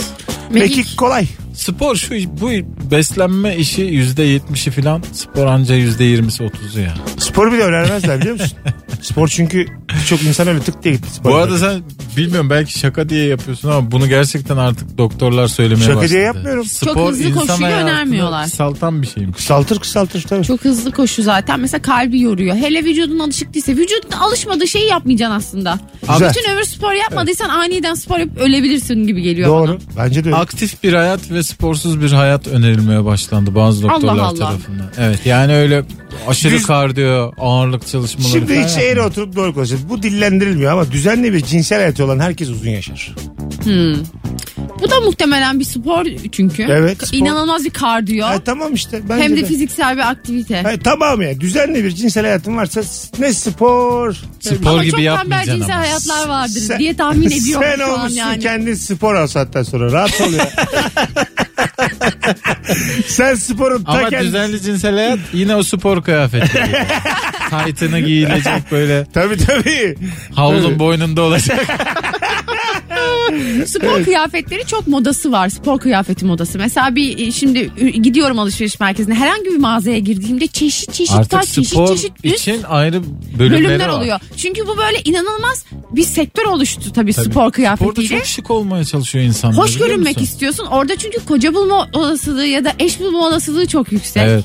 [SPEAKER 3] Mekik.
[SPEAKER 2] Mekik kolay.
[SPEAKER 4] Spor şu bu beslenme işi %70'i filan spor anca %20'si 30'u ya.
[SPEAKER 2] Sporu bile öğrenmezler biliyor
[SPEAKER 4] [laughs]
[SPEAKER 2] musun? Spor çünkü çok insan öyle tık diye gitti. spora.
[SPEAKER 4] Bu arada sen bilmiyorum belki şaka diye yapıyorsun ama bunu gerçekten artık doktorlar söylemeye
[SPEAKER 2] Şaka diye
[SPEAKER 4] başladı.
[SPEAKER 2] yapmıyorum.
[SPEAKER 4] Spor
[SPEAKER 3] Çok hızlı
[SPEAKER 4] insan
[SPEAKER 3] koşuyu
[SPEAKER 4] hayatını
[SPEAKER 3] önermiyorlar.
[SPEAKER 4] Kısaltan bir şey şeymiş.
[SPEAKER 2] kısaltır kısaltır tabii.
[SPEAKER 3] Çok hızlı koşu zaten. Mesela kalbi yoruyor. Hele vücudun alışık değilse. Vücudun alışmadığı şeyi yapmayacaksın aslında.
[SPEAKER 2] Güzel.
[SPEAKER 3] Bütün ömür spor yapmadıysan aniden spor yapıp ölebilirsin gibi geliyor bana.
[SPEAKER 2] Doğru. Bence de öyle.
[SPEAKER 4] Aktif bir hayat ve sporsuz bir hayat önerilmeye başlandı bazı doktorlar
[SPEAKER 3] Allah Allah.
[SPEAKER 4] tarafından. Evet yani öyle aşırı
[SPEAKER 2] Düz-
[SPEAKER 4] kardiyo, ağırlık çalışmaları
[SPEAKER 2] Şimdi
[SPEAKER 4] falan
[SPEAKER 2] hiç
[SPEAKER 4] yapmıyor.
[SPEAKER 2] eğri oturup doğru konuşuyoruz. Bu dillendirilmiyor ama düzenli bir cinsel hayatı olan herkes uzun yaşar.
[SPEAKER 3] Bu da muhtemelen bir spor çünkü.
[SPEAKER 2] Evet, spor.
[SPEAKER 3] İnanılmaz bir kardiyo.
[SPEAKER 2] Ha, tamam işte. Bence
[SPEAKER 3] Hem de fiziksel bir aktivite.
[SPEAKER 2] Ha, tamam ya düzenli bir cinsel hayatın varsa s- ne spor.
[SPEAKER 4] Spor
[SPEAKER 3] ama
[SPEAKER 4] gibi
[SPEAKER 3] çok tembel
[SPEAKER 4] yapmayacaksın
[SPEAKER 3] cinsel
[SPEAKER 4] ama.
[SPEAKER 3] hayatlar
[SPEAKER 2] [laughs]
[SPEAKER 3] vardır
[SPEAKER 2] Sen-
[SPEAKER 3] diye tahmin ediyorum
[SPEAKER 2] Sen
[SPEAKER 3] şu an
[SPEAKER 2] olmuşsun
[SPEAKER 3] yani.
[SPEAKER 2] kendin spor al saatten sonra rahat ol
[SPEAKER 4] [laughs]
[SPEAKER 2] ya. Sen sporun ta
[SPEAKER 4] Ama
[SPEAKER 2] kendisi-
[SPEAKER 4] düzenli cinsel hayat yine o spor kıyafetleri.
[SPEAKER 3] [laughs]
[SPEAKER 4] Taytını giyilecek böyle
[SPEAKER 2] Tabii tabii.
[SPEAKER 4] havlun boynunda olacak.
[SPEAKER 3] Spor kıyafetleri çok modası var. Spor kıyafeti modası. Mesela bir e, şimdi e, gidiyorum alışveriş merkezine. Herhangi bir mağazaya girdiğimde çeşit çeşit
[SPEAKER 4] Artık
[SPEAKER 3] taş, çeşit
[SPEAKER 4] spor
[SPEAKER 3] çeşit üst
[SPEAKER 4] için ayrı bölümleri
[SPEAKER 3] bölümler
[SPEAKER 4] var.
[SPEAKER 3] oluyor. Çünkü bu böyle inanılmaz bir sektör oluştu tabii,
[SPEAKER 4] Tabii.
[SPEAKER 3] spor
[SPEAKER 4] Sporda
[SPEAKER 3] kıyafetiyle.
[SPEAKER 4] çok şık olmaya çalışıyor insanlar.
[SPEAKER 3] Hoş
[SPEAKER 4] biliyor
[SPEAKER 3] görünmek
[SPEAKER 4] musun?
[SPEAKER 3] istiyorsun. Orada çünkü koca bulma olasılığı ya da eş bulma olasılığı çok yüksek.
[SPEAKER 4] Evet.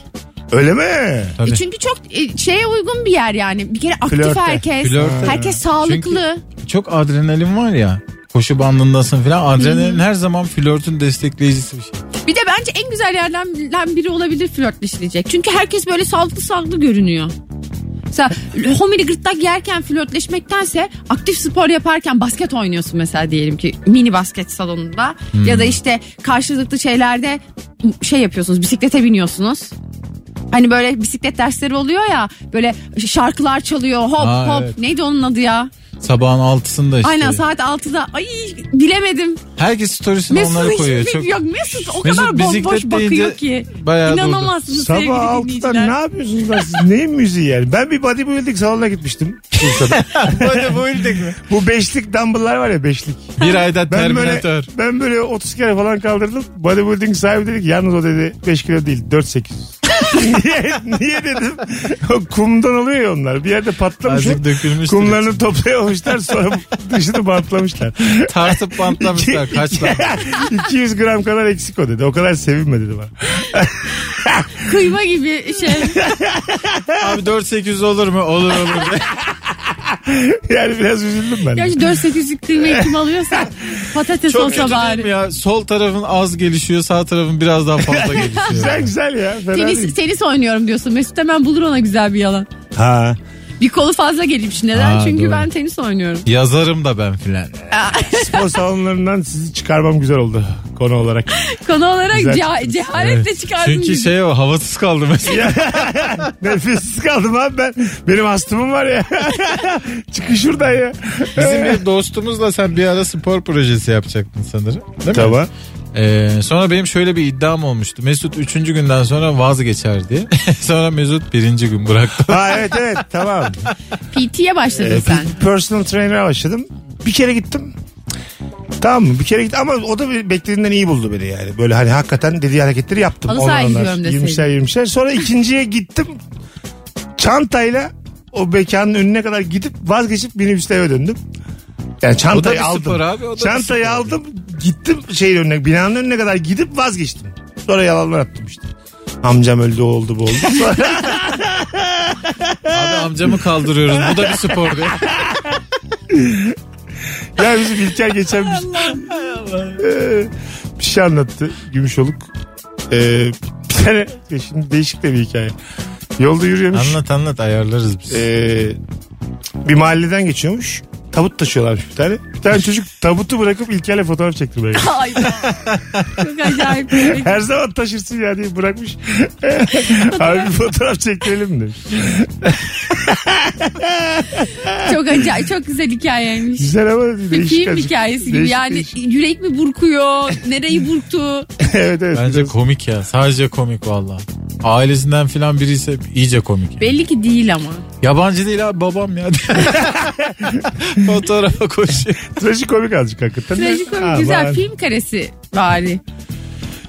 [SPEAKER 2] Öyle mi?
[SPEAKER 4] Tabii.
[SPEAKER 3] E, Çünkü çok e, şeye uygun bir yer yani. Bir kere aktif
[SPEAKER 2] Flörte.
[SPEAKER 3] herkes.
[SPEAKER 4] Flörte.
[SPEAKER 3] Herkes sağlıklı.
[SPEAKER 4] Çok adrenalin var ya. Koşu bandındasın falan. Adrenalin her zaman flörtün destekleyicisi bir şey.
[SPEAKER 3] Bir de bence en güzel yerlerden biri olabilir flörtleşilecek. Çünkü herkes böyle sağlıklı sağlıklı görünüyor. Mesela homili gırtlak yerken flörtleşmektense aktif spor yaparken basket oynuyorsun mesela diyelim ki mini basket salonunda
[SPEAKER 4] Hmm.
[SPEAKER 3] ya da işte karşılıklı şeylerde şey yapıyorsunuz bisiklete biniyorsunuz. Hani böyle bisiklet dersleri oluyor ya böyle şarkılar çalıyor hop
[SPEAKER 4] Aa,
[SPEAKER 3] hop
[SPEAKER 4] evet.
[SPEAKER 3] neydi onun adı ya?
[SPEAKER 4] Sabahın altısında işte.
[SPEAKER 3] Aynen saat 6'da ay bilemedim
[SPEAKER 4] Herkes storiesine onları
[SPEAKER 3] Mesut
[SPEAKER 4] koyuyor.
[SPEAKER 3] hiç [laughs]
[SPEAKER 4] Çok...
[SPEAKER 3] yok Mesut o
[SPEAKER 4] Mesut
[SPEAKER 3] kadar
[SPEAKER 4] bisiklet
[SPEAKER 3] bomboş bakıyor
[SPEAKER 4] deyince
[SPEAKER 3] ki.
[SPEAKER 4] bayağı durdu.
[SPEAKER 3] İnanamazsınız sevgili
[SPEAKER 2] Sabah 6'da
[SPEAKER 3] dinleyiciler.
[SPEAKER 2] ne yapıyorsunuz lan siz? Neyin müziği yani? Ben bir bodybuilding salonuna gitmiştim. Bursa'da.
[SPEAKER 4] Böyle boyulduk mu?
[SPEAKER 2] Bu beşlik dumbbell'lar var ya beşlik.
[SPEAKER 4] Bir ayda
[SPEAKER 2] Ben
[SPEAKER 4] Terminator.
[SPEAKER 2] böyle, ben böyle 30 kere falan kaldırdım. Bodybuilding sahibi dedi ki yalnız o dedi 5 kilo değil 4-8. [laughs] niye, niye dedim? O kumdan oluyor ya onlar. Bir yerde patlamış.
[SPEAKER 4] Azıcık dökülmüştür.
[SPEAKER 2] Kumlarını toplayamışlar sonra dışını bantlamışlar. [laughs]
[SPEAKER 4] Tartıp bantlamışlar
[SPEAKER 2] İki-
[SPEAKER 4] kaç lan.
[SPEAKER 2] 200 gram kadar eksik o dedi. O kadar sevinme dedi bana.
[SPEAKER 3] Kıyma gibi şey. [laughs]
[SPEAKER 4] [laughs] Abi 4800 olur mu? Olur olur.
[SPEAKER 2] yani biraz üzüldüm ben. de.
[SPEAKER 3] Gerçi 4-8'lik kıymayı kim alıyorsa patates
[SPEAKER 4] Çok
[SPEAKER 3] olsa
[SPEAKER 4] kötü değil mi
[SPEAKER 3] bari.
[SPEAKER 4] ya? Sol tarafın az gelişiyor, sağ tarafın biraz
[SPEAKER 2] [laughs]
[SPEAKER 4] daha fazla gelişiyor.
[SPEAKER 2] Güzel güzel ya. Fena
[SPEAKER 3] Tenis,
[SPEAKER 2] değil.
[SPEAKER 3] tenis oynuyorum diyorsun. Mesut hemen bulur ona güzel bir yalan.
[SPEAKER 2] Ha.
[SPEAKER 3] Bir kolu fazla gelip neden?
[SPEAKER 4] Ha,
[SPEAKER 3] Çünkü
[SPEAKER 4] doğru.
[SPEAKER 3] ben tenis oynuyorum.
[SPEAKER 4] Yazarım da ben filan.
[SPEAKER 2] Spor salonlarından sizi çıkarmam güzel oldu konu olarak.
[SPEAKER 3] Konu olarak
[SPEAKER 2] Güzel
[SPEAKER 3] ce- cehaletle çıkardım.
[SPEAKER 4] Çünkü
[SPEAKER 3] gibi.
[SPEAKER 4] şey o havasız kaldı mesela.
[SPEAKER 2] Nefessiz kaldım abi ben. Benim astımım var ya. [laughs] Çıkın şuradan ya. Ee,
[SPEAKER 4] Bizim bir dostumuzla sen bir ara spor projesi yapacaktın sanırım. Değil mi?
[SPEAKER 2] Tamam.
[SPEAKER 4] Ee, sonra benim şöyle bir iddiam olmuştu. Mesut 3. günden sonra vazgeçer diye. [laughs] sonra Mesut 1. gün [laughs] bıraktı.
[SPEAKER 2] Ha evet evet tamam.
[SPEAKER 3] PT'ye başladın
[SPEAKER 4] E,
[SPEAKER 2] Ee,
[SPEAKER 3] sen.
[SPEAKER 2] bir Personal trainer'a başladım. Bir kere gittim. Tamam mı? Bir kere gittim ama o da bir- beklediğinden iyi buldu beni yani. Böyle hani hakikaten dediği hareketleri yaptım.
[SPEAKER 3] Halı
[SPEAKER 2] Onlar
[SPEAKER 3] sahaya
[SPEAKER 2] onlar.
[SPEAKER 3] gidiyorum deseydin.
[SPEAKER 2] 20'şer 20'şer. Sonra ikinciye gittim. Çantayla o mekanın önüne kadar gidip vazgeçip minibüste eve döndüm. Yani
[SPEAKER 4] O da
[SPEAKER 2] çantayı
[SPEAKER 4] bir
[SPEAKER 2] aldım.
[SPEAKER 4] spor abi, o da bir
[SPEAKER 2] çantayı
[SPEAKER 4] spor.
[SPEAKER 2] aldım gittim şeyin önüne binanın önüne kadar gidip vazgeçtim. Sonra yalanlar attım işte. Amcam öldü o oldu bu oldu. Sonra-
[SPEAKER 4] Abi amcamı kaldırıyoruz. Bu da bir spor diye.
[SPEAKER 2] ya bizim İlker geçen bir Ee, bir şey anlattı Gümüşoluk. Ee, bir tane ya şimdi değişik de bir hikaye. Yolda yürüyormuş.
[SPEAKER 4] anlat anlat ayarlarız biz.
[SPEAKER 2] Ee, bir mahalleden geçiyormuş. Tabut taşıyorlarmış bir tane. Bir tane çocuk tabutu bırakıp İlker'le fotoğraf çektirmeye gitti.
[SPEAKER 3] Ay,
[SPEAKER 4] [laughs]
[SPEAKER 3] çok acayip. şey.
[SPEAKER 2] Her zaman taşırsın ya diye bırakmış. Abi bir fotoğraf çektirelim demiş.
[SPEAKER 3] Çok acayip. Çok güzel hikayeymiş.
[SPEAKER 2] Güzel ama
[SPEAKER 3] Bir
[SPEAKER 2] değişik.
[SPEAKER 3] film
[SPEAKER 2] azıcık.
[SPEAKER 3] hikayesi gibi.
[SPEAKER 2] Değişik,
[SPEAKER 3] Yani
[SPEAKER 2] değişik.
[SPEAKER 3] yürek mi burkuyor? Nereyi burktu?
[SPEAKER 2] evet evet.
[SPEAKER 4] Bence
[SPEAKER 2] Biraz-
[SPEAKER 4] komik ya. Sadece komik valla. Ailesinden filan biri ise iyice komik. ya.
[SPEAKER 3] Belli ki değil ama.
[SPEAKER 4] Yabancı değil abi babam [laughs] ya. Fotoğrafa koşuyor.
[SPEAKER 2] Trajikomik azıcık hakikaten.
[SPEAKER 3] Trajikomik
[SPEAKER 2] Aman.
[SPEAKER 3] güzel film karesi bari.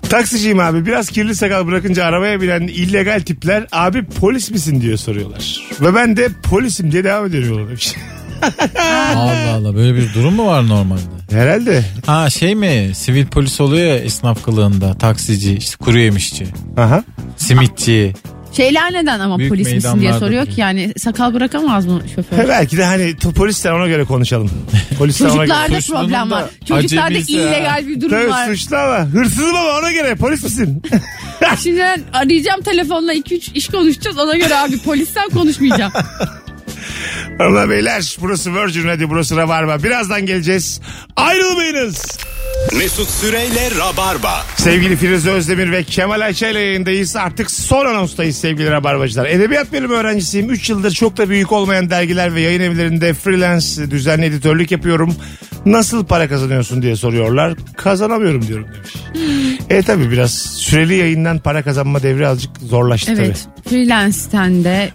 [SPEAKER 2] Taksiciyim abi biraz kirli sakal bırakınca arabaya binen illegal tipler abi polis misin diye soruyorlar. Ve ben de polisim diye devam ediyorum [laughs] yola demiş.
[SPEAKER 4] Allah Allah böyle bir durum mu var normalde?
[SPEAKER 2] Herhalde.
[SPEAKER 4] Ha şey mi? Sivil polis oluyor ya esnaf kılığında. Taksici, işte kuru yemişçi,
[SPEAKER 2] Aha.
[SPEAKER 4] simitçi.
[SPEAKER 3] Şeyler neden Şey ama
[SPEAKER 4] Büyük
[SPEAKER 3] polis misin diye
[SPEAKER 4] meydanlarda
[SPEAKER 3] soruyor
[SPEAKER 4] duruyor.
[SPEAKER 3] ki yani sakal bırakamaz mı şoför?
[SPEAKER 2] He, belki de hani t- polisler ona göre konuşalım. Polisler ona göre.
[SPEAKER 3] Çocuklarda
[SPEAKER 4] Suçlunun
[SPEAKER 3] problem var.
[SPEAKER 4] da
[SPEAKER 3] Çocuklarda
[SPEAKER 4] acemisi ha.
[SPEAKER 3] illegal bir durum
[SPEAKER 2] Tabii
[SPEAKER 3] var.
[SPEAKER 2] suçlu ama hırsızım ama ona göre polis misin? [laughs]
[SPEAKER 3] Şimdi ben arayacağım telefonla 2-3 iş konuşacağız. Ona göre abi polisten
[SPEAKER 4] [laughs]
[SPEAKER 3] konuşmayacağım.
[SPEAKER 2] Ama beyler burası Virgin Radio burası Rabarba. Birazdan geleceğiz. Ayrılmayınız.
[SPEAKER 1] Mesut Süreyle Rabarba.
[SPEAKER 2] Sevgili Firuze Özdemir ve Kemal Ayça ile yayındayız. Artık son anonstayız sevgili Rabarbacılar. Edebiyat bölümü öğrencisiyim. 3 yıldır çok da büyük olmayan dergiler ve yayın evlerinde freelance düzenli editörlük yapıyorum. Nasıl para kazanıyorsun diye soruyorlar. Kazanamıyorum diyorum demiş. e tabi biraz süreli yayından para kazanma devri azıcık zorlaştı
[SPEAKER 3] evet. Freelance'ten de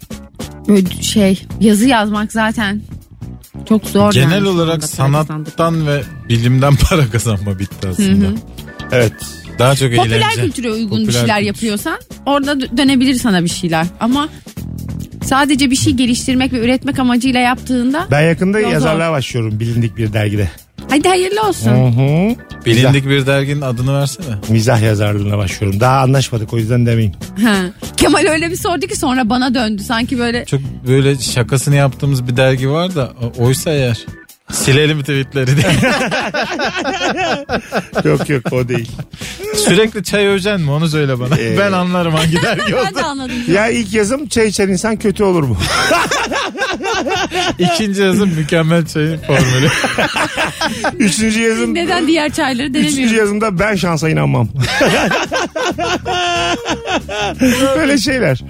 [SPEAKER 3] böyle şey yazı yazmak zaten çok zor.
[SPEAKER 4] Genel
[SPEAKER 3] yani
[SPEAKER 4] olarak
[SPEAKER 3] şu anda şey para kazandık.
[SPEAKER 4] sanattan ve bilimden [laughs] para kazanma bitti aslında.
[SPEAKER 2] tabii. Evet.
[SPEAKER 4] Daha çok
[SPEAKER 3] Popüler
[SPEAKER 4] eğlence.
[SPEAKER 3] kültüre uygun bir
[SPEAKER 4] Popüler
[SPEAKER 3] şeyler
[SPEAKER 4] kültür.
[SPEAKER 3] yapıyorsan orada dö- dönebilir sana bir şeyler. Ama sadece bir şey geliştirmek ve üretmek amacıyla yaptığında
[SPEAKER 2] Ben yakında
[SPEAKER 3] Yok,
[SPEAKER 2] yazarlığa başlıyorum bilindik bir dergide.
[SPEAKER 3] hadi hayırlı olsun.
[SPEAKER 2] Hı hı.
[SPEAKER 4] Bilindik bir derginin adını versene.
[SPEAKER 2] Mizah yazarlığına başlıyorum. Daha anlaşmadık o yüzden demeyin.
[SPEAKER 4] Hmm.
[SPEAKER 3] Ha. Kemal öyle bir sordu ki sonra bana döndü sanki böyle
[SPEAKER 4] Çok böyle şakasını yaptığımız bir dergi var da o- oysa eğer silelim tweetleri
[SPEAKER 3] [laughs]
[SPEAKER 4] diye.
[SPEAKER 2] [laughs] yok yok o değil.
[SPEAKER 4] Sürekli çay öcen mi onu söyle bana.
[SPEAKER 2] Ee,
[SPEAKER 4] Ben anlarım hangi [laughs] dergi
[SPEAKER 3] ben de
[SPEAKER 4] oldu.
[SPEAKER 3] anladım.
[SPEAKER 2] Ya ilk yazım çay içen insan kötü olur mu?
[SPEAKER 4] İkinci yazım mükemmel çayın [laughs] formülü.
[SPEAKER 2] Üçüncü yazım
[SPEAKER 3] Neden diğer çayları
[SPEAKER 4] şey
[SPEAKER 2] Üçüncü
[SPEAKER 3] denemiyorum?
[SPEAKER 2] yazımda ben şansa
[SPEAKER 3] [laughs]
[SPEAKER 2] inanmam. Böyle şeyler.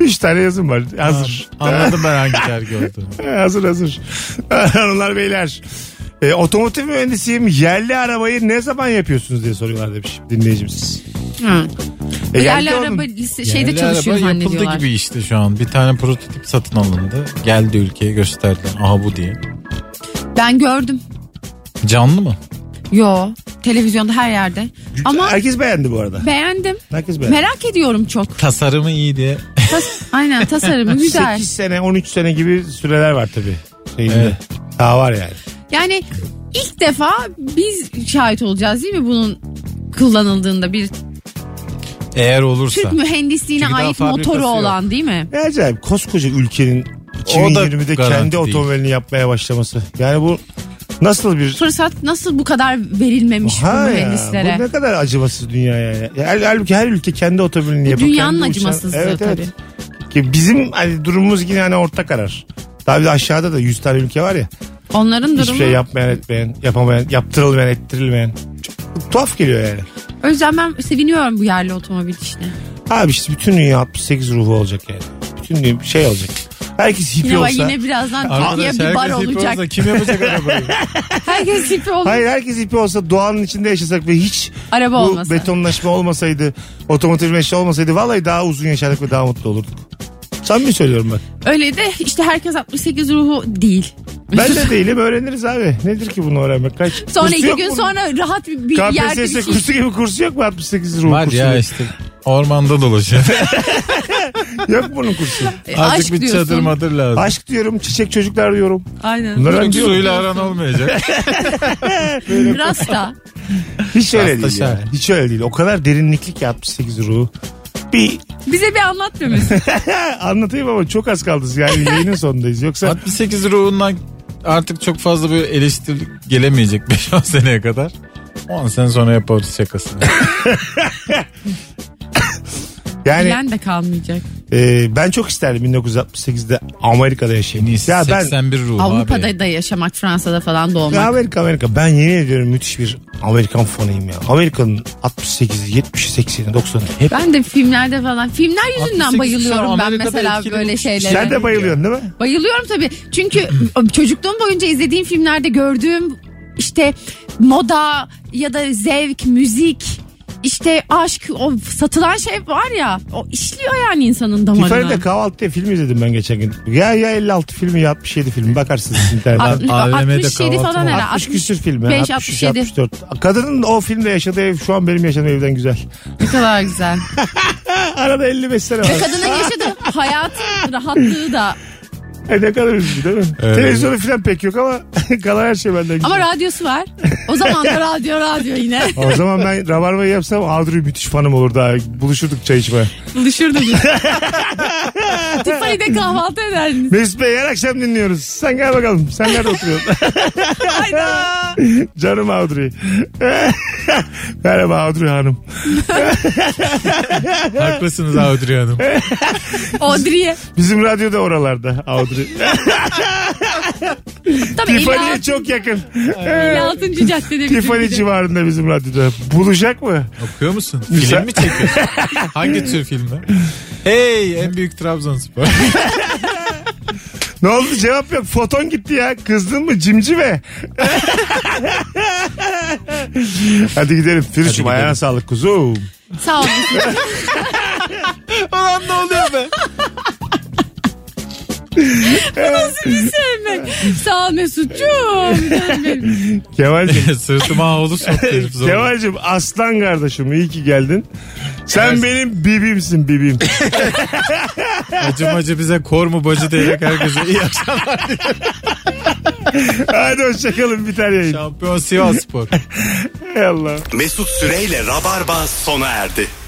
[SPEAKER 2] Üç tane yazım var. Hazır.
[SPEAKER 4] Anladım ben hangi dergi olduğunu.
[SPEAKER 2] hazır hazır. [laughs] Hanımlar beyler. E, otomotiv mühendisiyim. Yerli arabayı ne zaman yapıyorsunuz diye soruyorlar demiş dinleyicimiz.
[SPEAKER 3] Ha.
[SPEAKER 2] E,
[SPEAKER 3] Yerli
[SPEAKER 2] oğlum.
[SPEAKER 3] araba lise, şeyde
[SPEAKER 4] Yerli
[SPEAKER 3] çalışıyor
[SPEAKER 4] araba yapıldı
[SPEAKER 3] zannediyorlar.
[SPEAKER 4] gibi işte şu an. Bir tane prototip satın alındı. Geldi ülkeye gösterdiler. Aha bu diye.
[SPEAKER 3] Ben gördüm.
[SPEAKER 4] Canlı mı?
[SPEAKER 3] Yo. Televizyonda her yerde. Ama
[SPEAKER 2] Herkes beğendi bu arada.
[SPEAKER 3] beğendim.
[SPEAKER 2] Herkes beğendi.
[SPEAKER 3] Merak ediyorum çok.
[SPEAKER 4] Tasarımı iyi diye. [laughs]
[SPEAKER 3] Tas- Aynen tasarımı güzel.
[SPEAKER 2] 8 sene 13 sene gibi süreler var tabii. Şeyinde.
[SPEAKER 4] Evet.
[SPEAKER 2] Daha var yani.
[SPEAKER 3] Yani ilk defa biz şahit olacağız değil mi bunun kullanıldığında bir
[SPEAKER 4] Eğer olursa.
[SPEAKER 3] Türk mühendisliğine
[SPEAKER 4] Çünkü daha
[SPEAKER 3] ait
[SPEAKER 4] fabrikası
[SPEAKER 3] motoru
[SPEAKER 4] yok.
[SPEAKER 3] olan değil mi?
[SPEAKER 2] Ne acayip koskoca ülkenin
[SPEAKER 4] O da
[SPEAKER 2] 2020'de
[SPEAKER 4] garanti
[SPEAKER 2] kendi
[SPEAKER 4] değil.
[SPEAKER 2] otomobilini yapmaya başlaması. Yani bu nasıl bir
[SPEAKER 3] Fırsat nasıl bu kadar verilmemiş bu
[SPEAKER 2] Ha ya,
[SPEAKER 3] mühendislere?
[SPEAKER 2] bu ne kadar acımasız dünya yani. Ya, hal- halbuki her ülke kendi otomobilini yapıyor.
[SPEAKER 3] Dünyanın
[SPEAKER 2] kendi uçağı-
[SPEAKER 3] acımasızlığı
[SPEAKER 2] evet,
[SPEAKER 3] tabii.
[SPEAKER 2] Evet. Ki bizim hani durumumuz yine hani orta karar. Tabii de aşağıda da 100 tane ülke var ya.
[SPEAKER 3] Onların durumu.
[SPEAKER 2] Hiçbir şey yapmayan etmeyen, yapamayan, yaptırılmayan ettirilmeyen. Çok tuhaf geliyor yani.
[SPEAKER 3] O yüzden ben seviniyorum bu yerli otomobil işine.
[SPEAKER 2] Abi işte bütün dünya 68 ruhu olacak yani. Bütün dünya şey olacak. Herkes hippie
[SPEAKER 3] Yine, bak,
[SPEAKER 2] olsa.
[SPEAKER 3] yine birazdan Türkiye
[SPEAKER 4] Arkadaş
[SPEAKER 3] bir bar
[SPEAKER 4] herkes ipi
[SPEAKER 3] olacak.
[SPEAKER 4] olsa kim yapacak arabayı?
[SPEAKER 3] [laughs] Herkes hippie olacak.
[SPEAKER 2] Hayır herkes ipi olsa doğanın içinde yaşasak ve hiç
[SPEAKER 3] Araba
[SPEAKER 2] bu
[SPEAKER 3] olmasa.
[SPEAKER 2] betonlaşma olmasaydı, otomotivleşme olmasaydı vallahi daha uzun yaşardık ve daha mutlu olurduk. Samimi söylüyorum
[SPEAKER 3] [laughs]
[SPEAKER 2] bak.
[SPEAKER 3] Öyle de işte herkes 68 ruhu değil.
[SPEAKER 2] Ben de değilim öğreniriz abi. Nedir ki bunu öğrenmek? Kaç?
[SPEAKER 3] [laughs] Sonra
[SPEAKER 2] kursu
[SPEAKER 3] iki
[SPEAKER 2] yok
[SPEAKER 3] gün
[SPEAKER 2] bunun.
[SPEAKER 3] sonra rahat bir, bir yerde bir
[SPEAKER 2] KPSS
[SPEAKER 3] şey.
[SPEAKER 2] kursu gibi kursu yok mu 68 ruh
[SPEAKER 4] Var
[SPEAKER 2] kursu?
[SPEAKER 4] ya işte ormanda dolaşıyor.
[SPEAKER 2] Yok bunun kursu.
[SPEAKER 3] E,
[SPEAKER 4] Azıcık bir
[SPEAKER 3] diyorsun.
[SPEAKER 4] çadır madır lazım.
[SPEAKER 2] Aşk diyorum, çiçek çocuklar diyorum.
[SPEAKER 3] Aynen.
[SPEAKER 2] Bunlar
[SPEAKER 4] Çünkü
[SPEAKER 2] önce yok.
[SPEAKER 4] suyla aran olmayacak. [laughs]
[SPEAKER 3] Rasta.
[SPEAKER 2] Hiç öyle değil
[SPEAKER 4] Hastaşar.
[SPEAKER 2] yani. Hiç öyle değil. O kadar derinlikli ki 68 ruhu. Bir
[SPEAKER 3] Bize bir anlatmıyor musun?
[SPEAKER 2] anlatayım ama çok az kaldı. Yani
[SPEAKER 3] [laughs]
[SPEAKER 2] yayının sonundayız. Yoksa
[SPEAKER 4] 68 ruhundan artık çok fazla böyle eleştirilik gelemeyecek [laughs] 5-10 seneye kadar. 10 sene sonra yaparız [laughs] şakasını. Hani-
[SPEAKER 2] yani
[SPEAKER 3] Bilen de kalmayacak.
[SPEAKER 2] e, ben çok isterdim 1968'de Amerika'da yaşayayım.
[SPEAKER 4] Neyse,
[SPEAKER 2] ya ben
[SPEAKER 4] 81 ruhu
[SPEAKER 3] Avrupa'da
[SPEAKER 4] abi.
[SPEAKER 3] da yaşamak, Fransa'da falan da
[SPEAKER 2] Ya
[SPEAKER 3] olmak.
[SPEAKER 2] Amerika Amerika ben yemin ediyorum müthiş bir Amerikan fanıyım ya. Amerika'nın 68'i 70'i 80'i 90'ı
[SPEAKER 3] [laughs]
[SPEAKER 2] hep.
[SPEAKER 3] Ben de filmlerde falan. Filmler yüzünden
[SPEAKER 4] 68
[SPEAKER 3] bayılıyorum
[SPEAKER 4] sonra
[SPEAKER 3] ben
[SPEAKER 4] Amerika'da
[SPEAKER 3] mesela
[SPEAKER 4] etkili
[SPEAKER 3] böyle
[SPEAKER 4] olmuş.
[SPEAKER 3] şeylere.
[SPEAKER 2] Sen de bayılıyorsun değil mi?
[SPEAKER 3] Bayılıyorum tabii. Çünkü [clears throat] çocukluğum boyunca izlediğim filmlerde gördüğüm işte moda ya da zevk, müzik işte aşk o satılan şey var ya o işliyor yani insanın damarına.
[SPEAKER 2] Tiffany'de kahvaltıda film izledim ben geçen gün. Ya ya 56 filmi ya 67 filmi bakarsınız internetten.
[SPEAKER 3] Altmış-
[SPEAKER 4] AVM'de
[SPEAKER 3] 67 falan
[SPEAKER 4] kahvaltı
[SPEAKER 3] herhalde.
[SPEAKER 2] 60 küsür filmi.
[SPEAKER 3] 65,
[SPEAKER 2] 63,
[SPEAKER 3] 67.
[SPEAKER 2] 64. Kadının o filmde yaşadığı ev şu an benim yaşadığım evden güzel.
[SPEAKER 3] Ne kadar güzel.
[SPEAKER 2] Arada 55 sene var.
[SPEAKER 3] Ve kadının yaşadığı hayatın rahatlığı da.
[SPEAKER 2] E ne kadar üzücü değil mi?
[SPEAKER 4] Evet.
[SPEAKER 2] Televizyonu falan pek yok ama [laughs] kalan her şey benden güzel.
[SPEAKER 3] Ama radyosu var. O zaman da radyo radyo yine.
[SPEAKER 2] o zaman ben Rabarba'yı yapsam Adri müthiş fanım olur daha. Buluşurduk çay içmeye.
[SPEAKER 3] Buluşurdum. Tiffany'de kahvaltı ederdiniz.
[SPEAKER 2] Mesut Bey her akşam dinliyoruz. Sen gel bakalım. Sen nerede oturuyorsun? Canım Audrey. [laughs] Merhaba Audrey Hanım.
[SPEAKER 4] Haklısınız Audrey
[SPEAKER 3] [laughs]
[SPEAKER 4] Hanım.
[SPEAKER 3] Audrey'e.
[SPEAKER 2] Bizim radyo da oralarda Audrey.
[SPEAKER 3] Tabii
[SPEAKER 2] Tiffany'ye
[SPEAKER 3] 56.
[SPEAKER 2] çok yakın.
[SPEAKER 3] 56. caddede bizim
[SPEAKER 2] Tiffany
[SPEAKER 3] bir de.
[SPEAKER 2] civarında bizim radyoda. Buluşak mı?
[SPEAKER 4] Okuyor musun? Film mi çekiyorsun? Hangi
[SPEAKER 3] [laughs]
[SPEAKER 4] tür filmi? Hey en büyük Trabzonspor.
[SPEAKER 2] Ne oldu cevap yok. Foton gitti ya. Kızdın mı cimcime? Hadi gidelim. Firuş'um
[SPEAKER 4] gidelim.
[SPEAKER 2] ayağına sağlık kuzum.
[SPEAKER 3] Sağ olun.
[SPEAKER 4] Ulan ne oluyor be?
[SPEAKER 3] sevmek. Sağ ol Mesut'cum. Canım benim.
[SPEAKER 4] [laughs]
[SPEAKER 2] Kemal'cim.
[SPEAKER 4] Sırtıma havlu soktu herif zorla.
[SPEAKER 2] Kemal'cim aslan kardeşim iyi ki geldin. Sen
[SPEAKER 4] Evet.
[SPEAKER 2] benim bibimsin bibim.
[SPEAKER 4] Acım acı bize kor mu bacı diyerek herkese iyi akşamlar.
[SPEAKER 2] Hadi hoşçakalın biter yayın.
[SPEAKER 4] Şampiyon Sivas Spor.
[SPEAKER 2] Ey Allah.
[SPEAKER 1] Mesut Süreyle Rabarba sona erdi.